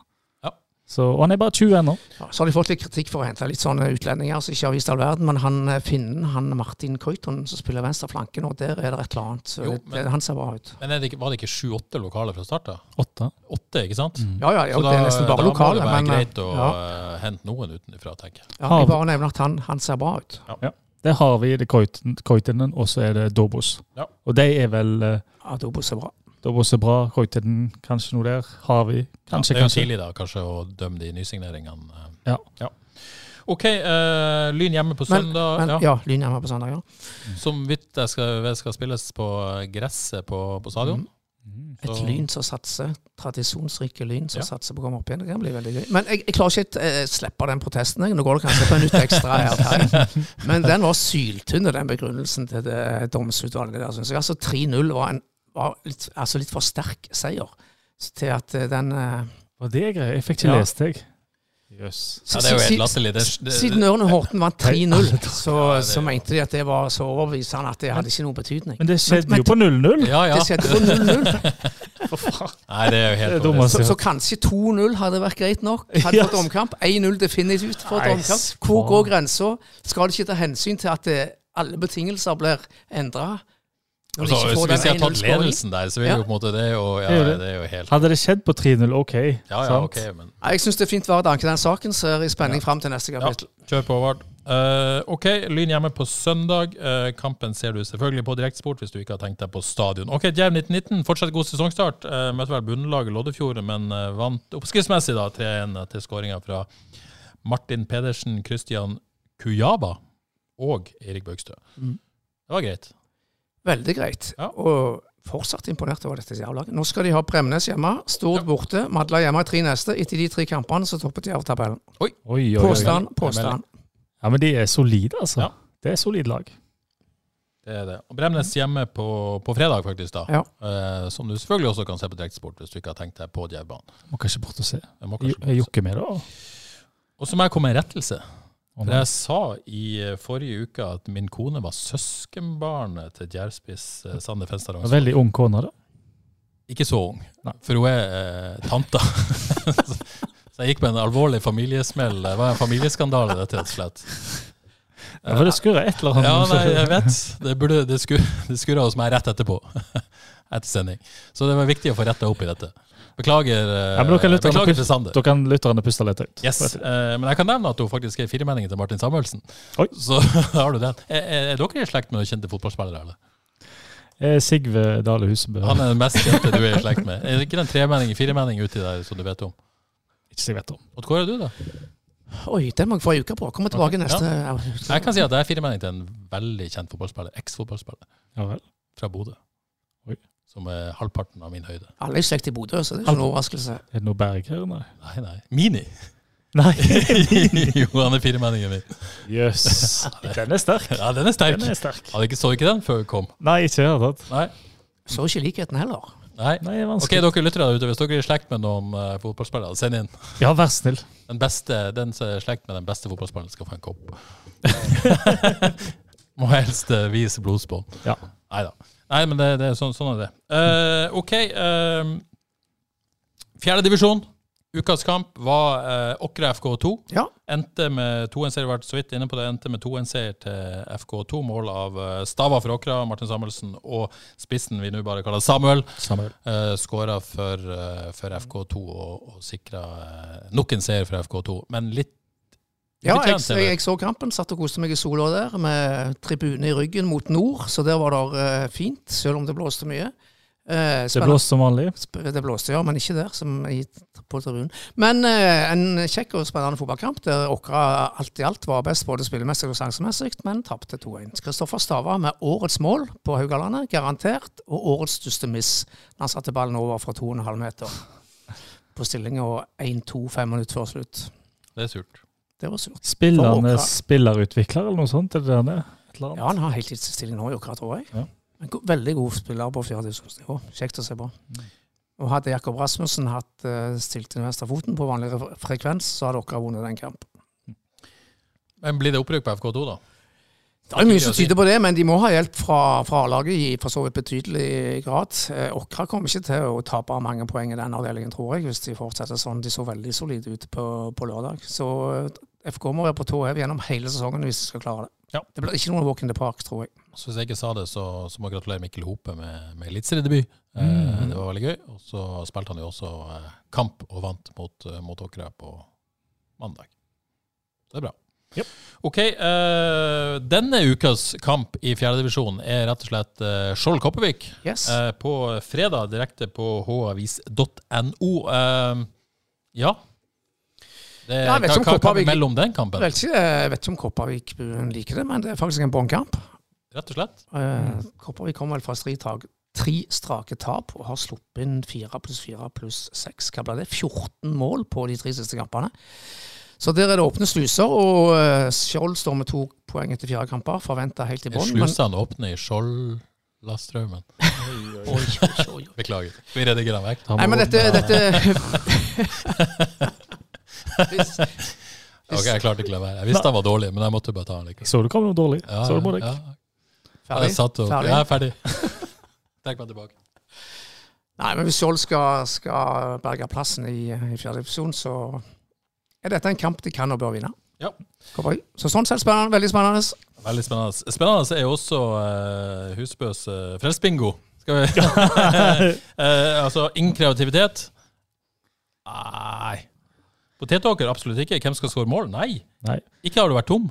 S1: Ja.
S3: Så, og han er bare 20 ennå.
S2: Ja, Så har de fått litt kritikk for å hente litt sånne utlendinger som ikke har vist all verden, men han eh, finnen, han Martin Køyton, som spiller venstre flanke nå, der er det et eller annet. Så
S1: Jo,
S2: det,
S1: men-
S2: det, han ser bra ut.
S1: Men er det ikke, var det ikke sju-åtte lokaler fra start? da?
S3: Åtte.
S1: Åtte, ikke sant?
S2: Ja, Mm. ja, ja
S1: Så
S2: det er nesten bare
S1: da må
S2: lokale,
S1: det være
S2: men eh,
S1: greit å
S2: ja,
S1: eh, hente noen utenfra, tenker jeg.
S2: ja, jeg bare nevner at han, han ser bra ut.
S3: Der har vi det Koit- Koitinen, og så er det Dobos.
S1: Ja.
S3: Og de er vel eh,
S2: Adobo ser bra.
S3: Dobos er bra, Koitinen kanskje noe der. Har vi
S1: ja, det
S3: kanskje,
S1: er jo
S3: kanskje.
S1: tidlig da, kanskje, å dømme de nysigneringene. eh.
S3: Ja.
S1: OK, eh, Lyn hjemme på
S2: Men-
S1: søndag.
S2: Men
S1: ja.
S2: ja, Lyn hjemme på søndag, ja.
S1: Som vidt jeg skal, vet skal spilles på eh, gresset på, på
S2: Mm.
S1: stadion.
S2: Et
S1: Så-
S2: Lyn som satser, tradisjonsrike Lyn som
S1: Ja.
S2: satser på å komme opp igjen. Det kan bli veldig gøy. Men jeg, jeg klarer ikke å eh, slippe den protesten. Jeg. Nå går det kanskje på en nytt ekstra
S1: (laughs)
S2: her. Terje. Men den var syltynn, den begrunnelsen til det eh, domsutvalget der, syns jeg. Altså 3-0 var en var litt, altså litt for sterk seier Så til at eh, den eh,
S3: Og det er greit. Jeg fikk ikke
S2: Ja.
S3: lest deg. Jøss.
S1: Ja, det er jo
S2: si-
S1: helt latterlig. Det, det,
S2: Siden Ørne Horten vant
S1: (laughs)
S2: 3-0, så, så
S1: det-
S2: mente de at det var så overbevisende at det hadde ikke noen betydning.
S3: Men det skjedde
S2: Men-
S3: jo på 0-0.
S1: ja, ja.
S2: Det skjedde på
S1: (laughs)
S2: 0-0.
S1: Nei, det er jo
S3: Det er
S1: helt Altså,
S3: dumt,
S1: overraskende.
S2: Så, så kanskje 2-0 hadde vært greit nok. Hadde fått omkamp. 1-0 definitivt fått
S3: Nei,
S2: omkamp.
S3: s-
S2: Hvor
S3: faen.
S2: går grensa? Skal du ikke ta hensyn til at eh, alle betingelser blir endra?
S1: Altså, hvis- Hvis de har tatt ledelsen der, så vil
S2: Ja.
S1: jo på en måte det jo, ja,
S3: Det er jo det.
S1: det er jo helt
S3: Hadde det skjedd på 3-0, OK.
S1: Ja, ja,
S3: sant?
S1: OK, men
S2: Jeg syns det er fint Vard anker den saken, så er jeg i spenning fram til neste
S1: Ja,
S2: kapittel.
S1: kjør på, Vard. Eh, OK, Lyn hjemme på søndag. Eh, kampen ser du selvfølgelig på direktesport hvis du ikke har tenkt deg på stadion. OK, Djerv 1919, fortsatt god sesongstart. Eh, møtte vel bunnlaget Loddefjord, men eh, vant oppskriftsmessig da 3-1 til skåringa fra Martin Pedersen, Christian Kujaba og Erik Bøgstø. Det var greit.
S2: Veldig greit.
S1: Ja.
S2: Og fortsatt imponert over dette jævlaget. Nå skal de ha Bremnes hjemme, Stord borte, Madla hjemme i tre neste. Etter de tre kampene så topper de av tabellen.
S3: Oi, oi, oi.
S2: Påstand, påstand.
S3: Ja, men de er solide, altså.
S1: Ja.
S3: Det er solid lag.
S1: Det er det. Og Bremnes hjemme på, på fredag, faktisk, da.
S2: Ja.
S1: Eh, som du selvfølgelig også kan se på direktesport hvis du ikke har tenkt deg på Djervbanen.
S3: Må kanskje bort og se.
S1: Jeg må
S3: Jo-
S1: kanskje-
S3: Jeg jokker med det. da.
S1: Og så må jeg komme med en rettelse.
S3: Å,
S1: For
S3: nei.
S1: jeg sa i eh, forrige uke at min kone var søskenbarnet til djervspiss eh, Sander Fenstad
S3: En
S1: Rangsvold.
S3: Veldig ung kone, da.
S1: Ikke så ung,
S3: Nei.
S1: for hun er eh, tanta. (laughs) så jeg gikk med en alvorlig familiesmell. Det var en familieskandale, dette, rett og slett.
S3: Ja, for det skurrer et eller
S1: Ja,
S3: annet.
S1: nei, jeg vet. Det, burde, det, skur, det skurra hos meg rett etterpå. (laughs) Etter sending. Så det var viktig å få retta opp i dette. Beklager, eh,
S3: Ja, men dere lytter-
S1: beklager
S3: dere-
S1: til Sander.
S3: Da kan lytterne puste litt høyt.
S1: Yes, eh, Men jeg kan nevne at hun faktisk skrev firemeldingen til Martin Samuelsen.
S3: Oi.
S1: Så (laughs) har du den. Er, er- er dere i slekt med noen kjente fotballspillere? eller?
S3: Eh, Sigve Dale Husebø.
S1: Han er den mest kjente du er i slekt med. Er det ikke den tremeldingen, firemeldingen uti der som du vet om?
S3: Ikke så jeg vet om.
S1: Og hvor er du, da?
S2: Oi, den må jeg få ei uke på. Kommer tilbake neste
S1: Jeg kan si at det er firemelding til en veldig kjent fotballspiller. Eks-fotballspiller
S3: Ja vel.
S1: fra Bodø.
S3: Oi.
S1: Som er halvparten av min høyde.
S2: Alle er i slekt i Bodø, så det er ikke noen overraskelse.
S3: Er det noe berg her? Nei.
S1: Nei, nei. Mini!
S3: Nei.
S1: (laughs) jo, han er firemeldingen min.
S3: Jøss. Den er sterk.
S1: Ja, den er sterk.
S3: Den er sterk.
S1: Hadde ikke så ikke den før vi kom.
S3: Nei, ikke i det hele tatt.
S1: Nei.
S2: Så ikke likheten heller.
S1: nei.
S3: Nei, det er
S1: Ok,
S3: vanskelig.
S1: dere lyttere der ute, hvis dere er i slekt med noen eh, fotballspillere, send inn.
S3: Ja, vær så snill.
S1: Den beste, den som er i slekt med den beste fotballspilleren, skal få en kopp. Må helst eh, vise blodsbånd.
S3: Ja.
S1: Nei da. Nei, men det, det er sånn, sånn er det. Eh, ok. Uh, Fjerdedivisjon. Ukas kamp var eh, Åkra FK2.
S2: Ja.
S1: Endte med 2-1-seier, vært så vidt inne på det, endte med 2-1-seier til FK2. Mål av eh, Stava for Åkra, Martin Samuelsen, og spissen vi nå bare kaller Samuel,
S3: Samuel.
S1: uh, skåra for, eh, for FK2 og, og sikra nok en seier for FK2. Men litt
S2: Ja, jeg,
S1: Fortjent,
S2: jeg,
S1: eller?
S2: jeg så kampen. Satt og koste meg i sola der med tribune i ryggen mot nord, så der var det eh, fint, selv om det blåste mye. Eh,
S3: Det
S2: spennende-
S3: blåser som vanlig.
S2: Sp- Det blåste, ja, men ikke der, som i, på tribunen. Men eh, en kjekk og spennende fotballkamp der Åkra alt i alt var best både spillemessig og sjansemessig, men tapte 2-1. Kristoffer Stava med årets mål på Haugalandet, garantert, og årets største miss da han satte ballen over fra 2,5 meter på stillinga 1-2 fem minutter før slutt.
S1: Det er surt.
S2: Det var surt.
S3: Spiller han
S2: For Åkra.
S3: eh, spillerutvikler eller noe sånt? Er det det han er? Et eller annet?
S2: Ja, han har heltidsstilling nå i Åkra, tror jeg.
S3: Sånn. Ja.
S2: En go- veldig god spiller på fjerdedivisjonsnivå. Kjekt å se på. Og hadde Jakob Rasmussen hatt eh, stilt den venstre foten på vanlig fre- frekvens, så hadde Åkra vunnet den kampen.
S1: Men blir det opprykk på FK2, da?
S2: Det er jo mye som tyder på det, men de må ha hjelp fra, fra A-laget i for så vidt betydelig grad. Eh, Åkra kommer ikke til å tape mange poeng i den avdelingen, tror jeg, hvis de fortsetter sånn. De så veldig solide ut på, på lørdag. Så eh, FK må være på tå hev gjennom hele sesongen hvis de skal klare det.
S1: Ja.
S2: Det blir ikke noen walk in the park, tror jeg.
S1: Så hvis jeg ikke sa det, så, så må jeg gratulere Mikkel Hope med, med eliteseriedebut.
S2: Mm.
S1: Eh, det var veldig gøy. Og så spilte han jo også eh, kamp og vant mot, eh, mot Åkra på mandag. Så det er bra. Ok, eh, denne ukas kamp i fjerdedivisjon er rett og slett eh, Skjold Koppevik.
S2: Yes.
S1: Eh, på fredag direkte på havis.no. Eh, ja. Det,
S2: Ja, sånn jeg vet
S1: hva,
S2: ikke om
S1: hva
S2: Kopervik-
S1: kan vi melde om den kampen?
S2: Jeg vet ikke, eh, jeg vet ikke om Kopervik-buen liker det, men det er faktisk en båndkamp.
S1: Rett og slett. Mm.
S2: Eh, Kopervik kommer vel fra stritag, tre strake tap og har sluppet inn fire pluss fire pluss seks. Hva ble det? 14 mål på de tre siste kampene. Så der er det åpne sluser, og eh, Skjold står med to poeng etter fire kamper, forventa helt i
S1: Er
S2: bånn. men-
S1: Slusene åpner i Skjoldlastraumen.
S2: (laughs) Oi, oi, oi, oi.
S1: Beklager. Vi redigerer den vekk.
S3: Han
S2: Nei, men
S3: må-
S2: dette,
S1: (laughs)
S2: dette (laughs) Hvis-
S1: Ok, Jeg klarte ikke å la være. Jeg visste den var dårlig, men jeg måtte bare ta den likevel.
S3: Så du kom noe dårlig.
S1: Ja,
S3: så du må deg.
S1: ja. Ja,
S2: Ferdig?
S1: jeg satt og,
S2: Ferdig?
S1: ja, jeg er ferdig. (laughs) Trekk meg tilbake.
S2: Nei, men hvis Skjold skal, skal berge plassen i, i fjerde divisjon, så er dette en kamp de kan og bør vinne.
S1: Ja.
S2: Kopervik. Så sånn sett spennende, veldig spennende.
S1: Veldig spennende. Spennende er jo også eh, Husbøs eh, frelsbingo. Skal vi (laughs) Eh, Altså, ingen kreativitet. Nei. Potetåker, absolutt ikke. Hvem skal skåre mål? Nei.
S3: Nei.
S1: Ikke har du vært tom.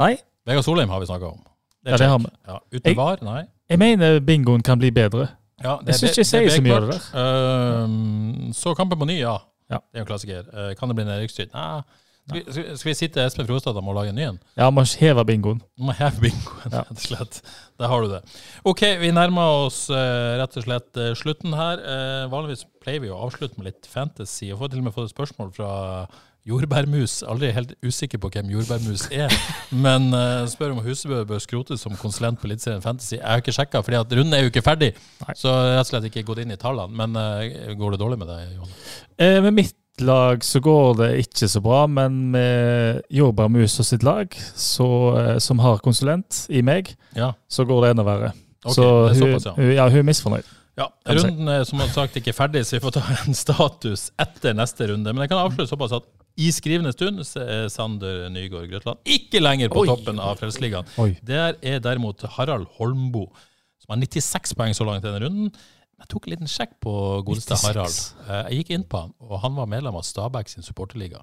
S3: Nei,
S1: Vegard Solheim har vi snakka om.
S3: Ja, det har vi.
S1: Ja,
S3: Jeg-
S1: uten var? Nei.
S3: jeg mener bingoen kan bli bedre.
S1: Ja,
S3: Jeg synes ikke jeg sier så mye av det
S1: der. Ehm, så kampen på ny, ja.
S3: Ja.
S1: Det er jo en klassiker. Eh, kan det bli nedrykkstrid? Nei. Skal vi, skal- skal vi si til Espen Frostad at han må lage en ny en?
S3: Ja, man hever bingoen.
S1: Du må heve (laughs) bingoen,
S3: Ja.
S1: rett og slett. Der har du det. OK, vi nærmer oss eh, rett og slett eh, slutten her. Eh, vanligvis pleier vi å avslutte med litt fantasy. Jeg får til og med fått et spørsmål fra Jordbærmus. Aldri helt usikker på hvem Jordbærmus er, (laughs) men eh, spør om Husebø bør skrotes som konsulent på Eliteserien Fantasy. Jeg har ikke sjekka, for runden er jo ikke ferdig.
S3: Nei.
S1: Så jeg har rett og slett ikke gått inn i tallene. Men eh, går det dårlig med deg, Johan?
S3: Eh, med mitt lag så går det ikke så bra, men med Jordbærmus og sitt lag, så, eh, som har konsulent i meg,
S1: Ja.
S3: så går det enda verre.
S1: Ok,
S3: så
S1: det er
S3: hun,
S1: såpass, ja.
S3: hun, ja, hun er misfornøyd.
S1: Ja,
S3: Kan du si.
S1: Runden er som sagt ikke ferdig, så vi får ta en status etter neste runde. Men jeg kan avsløre såpass at i skrivende stund så er Sander Nygaard Grøtland ikke lenger på
S2: Oi.
S1: toppen av Frelsesligaen.
S3: Oi.
S1: Der er derimot Harald Holmbo, som har 96 poeng så langt i denne runden. Jeg tok en liten sjekk på godeste
S3: 96.
S1: Harald. Eh, Jeg gikk inn på han, og han var medlem av Stabæk sin supporterliga.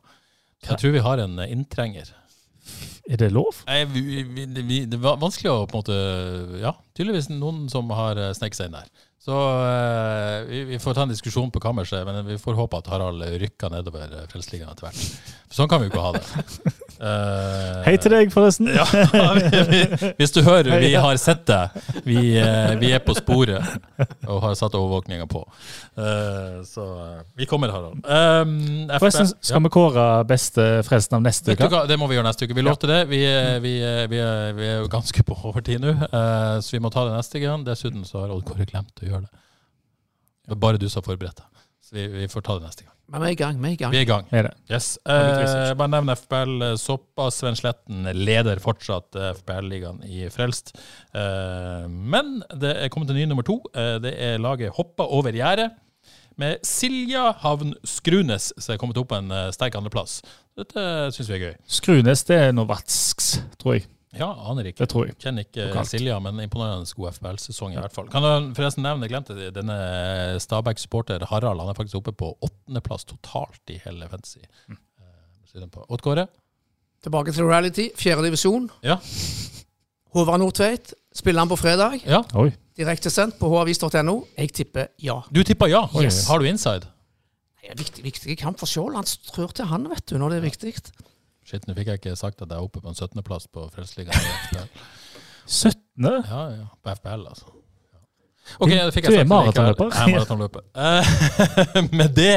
S1: Så jeg tror vi har en eh, inntrenger.
S3: Er det lov?
S1: Nei, vi, vi, vi, det var vanskelig å på en måte Ja, tydeligvis noen som har eh, sneket seg inn der. Så eh, vi, vi får ta en diskusjon på kammerset, men vi får håpe at Harald rykker nedover eh, Frelsesligaen etter hvert. For sånn kan vi jo ikke ha det. Eh,
S3: Hei til deg, forresten.
S1: Ja, (laughs) vi, vi, hvis du hører, vi har sett deg. Vi, eh, vi er på sporet og har satt overvåkninga på. Eh, så eh, vi kommer, Harald. Um, FB
S3: (laughs) Forresten skal vi kåre beste frelsen av neste
S1: Vet du
S3: uke.
S1: hva, det må vi gjøre neste uke. Vi lovte det. Vi, er- vi, er- vi, er- vi er jo ganske på overtid nå, eh, så vi må ta det neste gang. Dessuten så har Odd Kåre glemt å gjøre det. Det er bare du som har forberedt deg. Så vi, vi får ta det neste gang.
S2: Men vi er i gang, vi er i gang.
S1: Vi er i gang.
S3: Er det?
S1: Yes.
S3: litt
S1: Eh,
S3: research.
S1: bare nevn FBL eh, såpass. Sven Sletten leder fortsatt eh, FBL-ligaen i Frelst. Eh, men det er kommet en ny nummer to. Eh, det er laget Hoppa over gjerdet. Med Silja Havn Skrunes som er kommet opp på en eh, sterk andreplass. Dette syns vi er gøy.
S3: Skrunes, det er noe vatsks, tror jeg.
S1: Ja, aner ikke.
S3: Det tror jeg.
S1: Kjenner ikke
S3: Lokalt.
S1: Silja, men imponerende god FBL-sesong i hvert fall. Kan jeg forresten nevne, jeg glemte det, denne Stabæk-supporter Harald, han er faktisk oppe på åttendeplass totalt i hele Fantasy.
S3: Mm.
S1: Eh, siden på Odd Kåre?
S2: Tilbake til reality. Fjerde divisjon.
S1: Ja.
S2: Håvard Nordtveit spiller han på fredag.
S1: ja.
S3: Oi.
S2: Direktesendt på havis.no. Jeg tipper ja.
S1: Du tippa ja.
S3: Yes.
S1: Har du inside?
S2: Det er viktig, viktig kamp for Skjold. Han trør til han, vet du, når det er viktig.
S1: Shit, nå fikk jeg ikke sagt at jeg er oppe på en 17.-plass på Frelsesligaen. i
S3: (laughs)
S1: FBL.
S3: 17.
S1: Ja, ja. På FBL, altså. Ja. Ok, det fikk
S3: Du
S1: jeg sagt. likevel.
S3: er maratonløper.
S1: Jeg er maratonløper. Eh, (laughs) Med det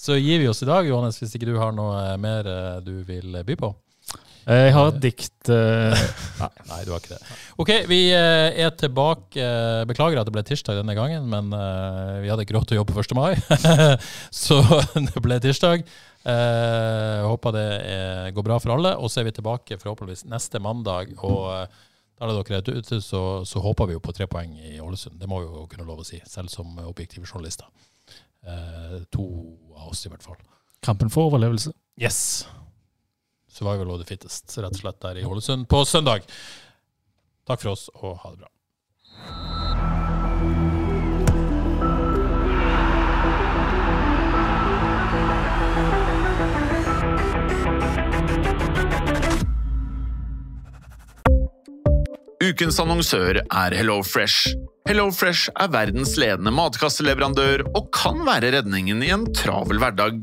S1: så gir vi oss i dag, Johannes, hvis ikke du har noe eh, mer eh, du vil by på.
S3: Eh, Jeg har et dikt
S1: (laughs)
S3: eh,
S1: Nei, du har ikke det. Ok, vi eh, er tilbake. Eh, Beklager at det ble tirsdag denne gangen, men eh, vi hadde ikke råd til å jobbe på 1. mai, (laughs) så (laughs) det ble tirsdag. Eh, håper det eh, går bra for alle, og så er vi tilbake forhåpentligvis neste mandag. og eh, da er det dere er ute, så, så håper vi jo på tre poeng i Ålesund. Det må vi jo kunne lov å si, selv som objektive journalister. Eh, to av oss, i hvert fall.
S3: Kampen for overlevelse.
S1: Yes. Survival of the fittest, rett og slett, der i Ålesund på søndag. Takk for oss, og ha det bra.
S4: Ukens annonsør er HelloFresh. HelloFresh er verdens ledende matkasseleverandør og kan være redningen i en travel hverdag.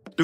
S4: Du